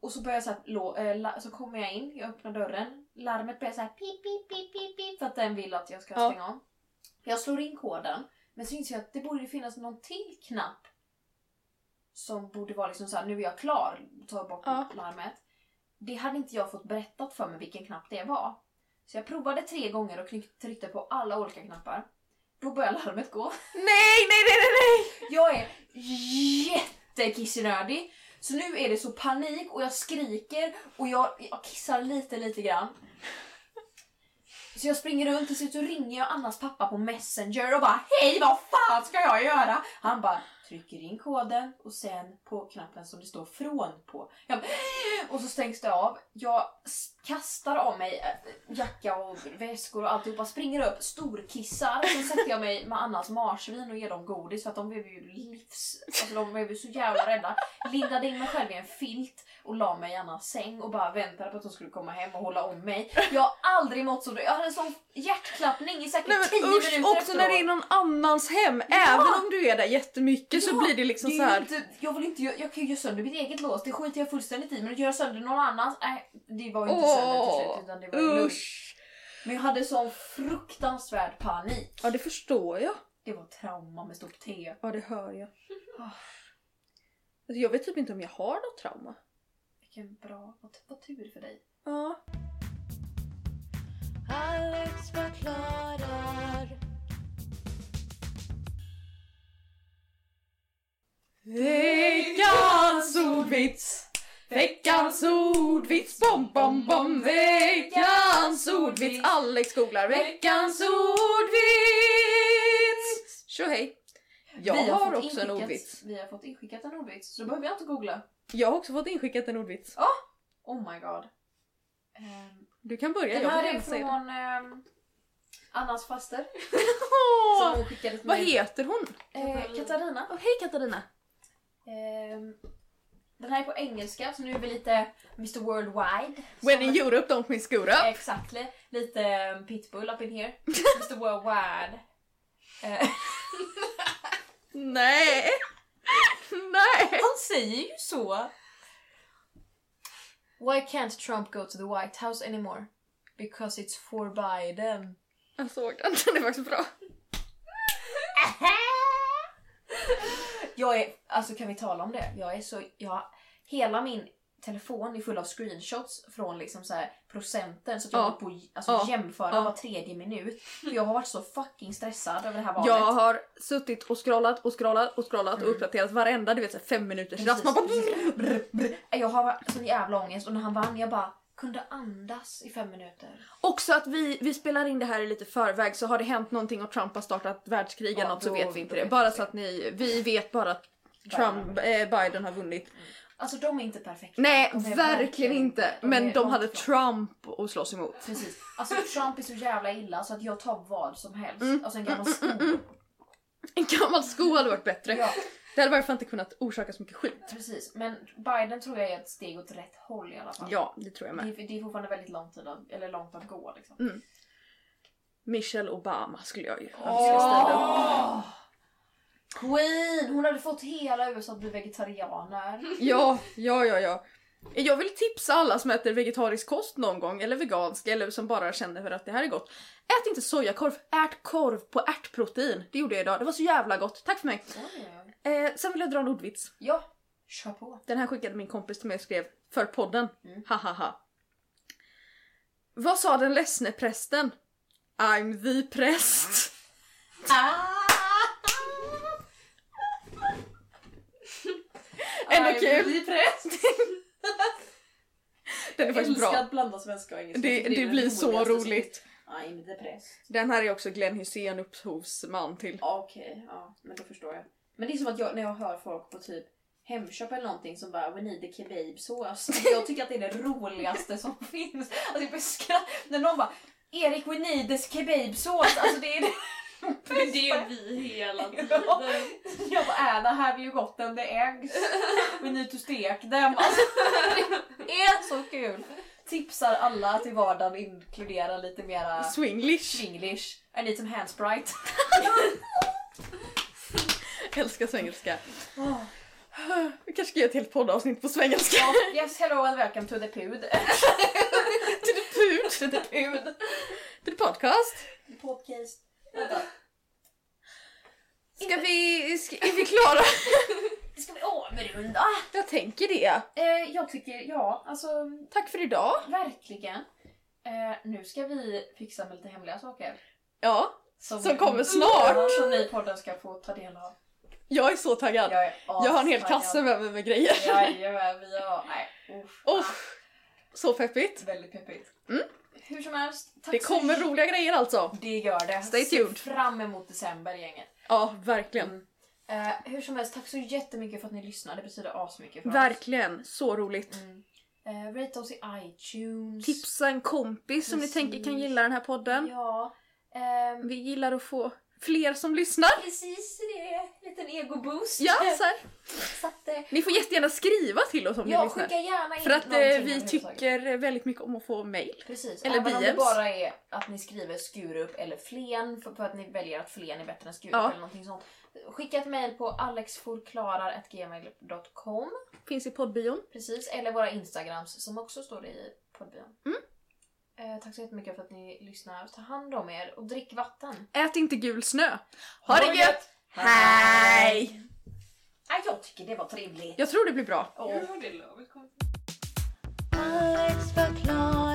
S3: Och så börjar jag så här, lå, eh, la, så kommer jag in, jag öppnar dörren. Larmet börjar så här pip, pip, pip, pip, pip för att den vill att jag ska
S1: Ja.
S3: stänga om. Jag slår in koden, men så inser jag att det borde finnas någon till knapp som borde vara liksom så här, nu är jag klar, ta bort
S1: Ja.
S3: larmet. Det hade inte jag fått berättat för mig vilken knapp det var. Så jag provade tre gånger och knyck- tryckte på alla olika knappar. Då började larmet gå.
S1: Nej, nej, nej, nej, nej!
S3: Jag är jättekissnödig. Så nu är det så panik och jag skriker och jag, jag kissar lite, lite grann. Så jag springer runt, till slut så ringer jag Annas pappa på Messenger och bara Hej vad fan ska jag göra? Han bara trycker in koden och sen på knappen som det står från på. Jag bara, "Äh!" och så stängs det av. Jag s- kastar av mig eh, jacka och väskor och alltihopa, springer upp, storkissar. Sen sätter jag mig med Annas marsvin och ger dem godis för att de blev ju livs... Alltså de blev ju så jävla rädda. Lindade in mig själv i en filt och la mig i Annas säng och bara väntade på att hon skulle komma hem och hålla om mig. Jag har aldrig mått så bra. Jag hade en sån hjärtklappning i säkert
S1: nej
S3: 10
S1: men
S3: minuter
S1: usch, också när det är någon annans hem. Även om du är där jättemycket så
S3: Ja,
S1: blir det liksom
S3: Det
S1: så
S3: är ju
S1: här.
S3: inte, jag, vill inte, jag, jag kan ju göra sönder mitt eget lås, det skiter jag fullständigt i. Men att göra sönder någon annans, nej det var ju inte sönder till
S1: Åh,
S3: slut utan det var ju lugnt.
S1: Usch!
S3: Men jag hade sån fruktansvärd panik.
S1: Ja det förstår jag.
S3: Det var trauma med stort T.
S1: Ja det hör jag. Alltså, jag vet typ inte om jag har något trauma.
S3: Vilken bra, vad, vad tur för dig.
S1: Ja.
S4: Alex förklarar.
S1: Veckans ordvits! Veckans ordvits! Bom, bom, bom! Veckans ordvits! Alex googlar veckans ordvits! Tjohej! Jag
S3: Vi
S1: har,
S3: fått
S1: också en
S3: inskickat-
S1: ordvits.
S3: Vi har fått inskickat en ordvits, så då behöver jag inte googla.
S1: Jag har också fått inskickat en ordvits.
S3: Oh my god. Ehm,
S1: Du kan börja,
S3: den
S1: jag
S3: här
S1: vill
S3: är
S1: inte säga
S3: från ehm, Annas faster.
S1: det.
S3: Som
S1: Åh,
S3: hon skickade till
S1: Vad
S3: mig.
S1: heter hon?
S3: Eh, Katarina.
S1: Åh, hej Katarina!
S3: Ehm, den här är på engelska, så nu är vi lite Mr Worldwide.
S1: When
S3: Som-
S1: in Europe don't miss Europe.
S3: Exactly. Lite um, pitbull up in here. Mr Worldwide. Eh,
S1: Nej! Nej!
S3: han säger ju så! Why can't Trump go to the White House anymore? Because it's for Biden.
S1: Jag såg den, den är faktiskt bra.
S3: Jag är, alltså kan vi tala om det? Jag är så, jag, hela min telefon är full av screenshots från liksom så här procenten så att jag
S1: Ja.
S3: håller på att alltså,
S1: Ja.
S3: jämföra
S1: Ja.
S3: var tredje minut. För jag har varit så fucking stressad över det här valet.
S1: Jag har suttit och scrollat och scrollat och scrollat och
S3: Mm.
S1: uppdaterat varenda du vet, så här fem minuters rast.
S3: Precis,
S1: Man bara... "Mm,
S3: precis. Brr, brr. Jag har varit sån jävla ångest och när han vann jag bara kunde andas i fem minuter.
S1: Också att vi, vi spelar in det här i lite förväg så har det hänt någonting och Trump har startat världskrig eller
S3: Ja,
S1: något så
S3: då-
S1: vet vi inte
S3: då
S1: det.
S3: vet
S1: Bara
S3: vi.
S1: så att ni, vi vet bara att Trump, eh, Biden har vunnit.
S3: Alltså de är inte perfekta.
S1: Nej,
S3: De är
S1: verkligen inte.
S3: de
S1: Men
S3: är
S1: de
S3: långt
S1: hade
S3: ifrån.
S1: Trump att slåss emot.
S3: Precis. Alltså Trump är så jävla illa så att jag tar vad som helst.
S1: Mm,
S3: Alltså en gammal sko.
S1: En gammal sko hade varit bättre.
S3: Ja,
S1: Det hade varför inte kunnat orsaka så mycket skit.
S3: precis. Men Biden tror jag är ett steg åt rätt håll i alla fall.
S1: Ja, det tror jag
S3: Det,
S1: med.
S3: är- det är fortfarande väldigt lång tid att, eller långt att gå liksom.
S1: Michelle Obama skulle jag ju önska ställa upp.
S3: Åh! Queen! Hon hade fått hela USA att bli vegetarianer.
S1: Mm. Ja, ja, ja, ja. Jag vill tipsa alla som äter vegetarisk kost någon gång, eller vegansk, eller som bara känner för att det här är gott. Ät inte sojakorv, ät korv på ärtprotein. Det gjorde jag idag, det var så jävla gott. Tack för mig.
S3: Oj.
S1: Eh, sen vill jag dra en ordvits.
S3: Ja, kör på.
S1: Den här skickade min kompis till mig och skrev för podden.
S3: Mm.
S1: Ha ha ha. Vad sa den ledsne prästen? I'm the präst. Ah! Ändå
S3: I'm
S1: kul.
S3: the präst.
S1: Den är faktiskt
S3: Älskar
S1: bra.
S3: att blanda svenska och engelska.
S1: Det,
S3: Jag tycker
S1: det
S3: är
S1: blir så
S3: roligaste som
S1: roligt.
S3: finns. I'm the präst.
S1: Den här är också Glenn Hussein upphovsman till.
S3: Okej, ja, men då förstår jag. Men det är som att jag, när jag hör folk på typ Hemköp eller någonting som bara “We need a kebabsås”. Alltså, Jag tycker att det är det roligaste som finns. Alltså jag börjar skratta. När någon bara “Erik, we need this kebabsås”. Alltså det är det
S2: Men det är ju vi hela tiden.
S3: Jag bara Anna, have you gotten the eggs? We need to stek them. Alltså, det är så kul! Tipsar alla att i vardagen inkludera lite mera
S1: Swinglish.
S3: English. I need some hand sprite.
S1: Älskar svengelska. Vi kanske ska göra ett helt poddavsnitt på svengelska.
S3: Oh, yes, hello and welcome to the
S1: Till
S3: pud.
S1: the pud. Till the pud. Till the podcast.
S3: Podcast.
S1: Ska vi... Ska, är vi klara?
S3: Ska vi avrunda?
S1: Jag tänker det.
S3: Eh, jag tycker, ja, alltså
S1: Tack för idag.
S3: verkligen. Eh, nu ska vi fixa med lite hemliga saker.
S1: Ja, Som kommer snart.
S3: Ja, Som ni i podden ska få ta del av.
S1: jag är så taggad.
S3: Jag, är
S1: Jag har en hel
S3: astaggad.
S1: kasse med mig med grejer.
S3: Jajamän, vi har... Nej, uff.
S1: Uff, så peppigt.
S3: Väldigt peppigt.
S1: Mm.
S3: Hur som helst, tack
S1: Det
S3: så
S1: kommer roliga grejer alltså.
S3: Det gör det.
S1: Stay tuned.
S3: Se fram emot december gänget.
S1: Ja, verkligen.
S3: Eh, hur som helst, tack så jättemycket för att ni lyssnade. Det betyder asmycket för oss.
S1: Verkligen, så roligt.
S3: Mm. Eh, rate oss i iTunes.
S1: Tipsa en kompis som ni
S3: Precis.
S1: tänker kan gilla den här podden.
S3: Ja. ehm,
S1: Vi gillar att få fler som lyssnar.
S3: precis, det är en liten ego-boost.
S1: Ja, så här.
S3: Så att, eh,
S1: Ni får jättegärna skriva till oss om ni
S3: ja, skicka
S1: lyssnar.
S3: gärna in
S1: För att
S3: någonting
S1: eh, vi
S3: överhuvudtaget.
S1: tycker väldigt mycket om att få mail.
S3: Precis,
S1: eller
S3: eller även om det
S1: DMs.
S3: bara är att ni skriver Skurup eller Flen för, för att ni väljer att Flen är bättre än Skurup
S1: Ja.
S3: eller någonting sånt. Skicka ett mejl på alexforklarar.gmail.com
S1: Finns i poddbion.
S3: Precis, eller våra Instagrams som också står i poddbion.
S1: Mm.
S3: Eh, tack så jättemycket för att ni lyssnar. Ta hand om er och drick vatten.
S1: Ät inte gul snö. Ha det gött! Hej!
S3: Ah, jag tycker det var trevligt. Oh.
S1: Jag tror det blir bra.
S2: Nu har det lovet kommit.
S4: Alex förklarar.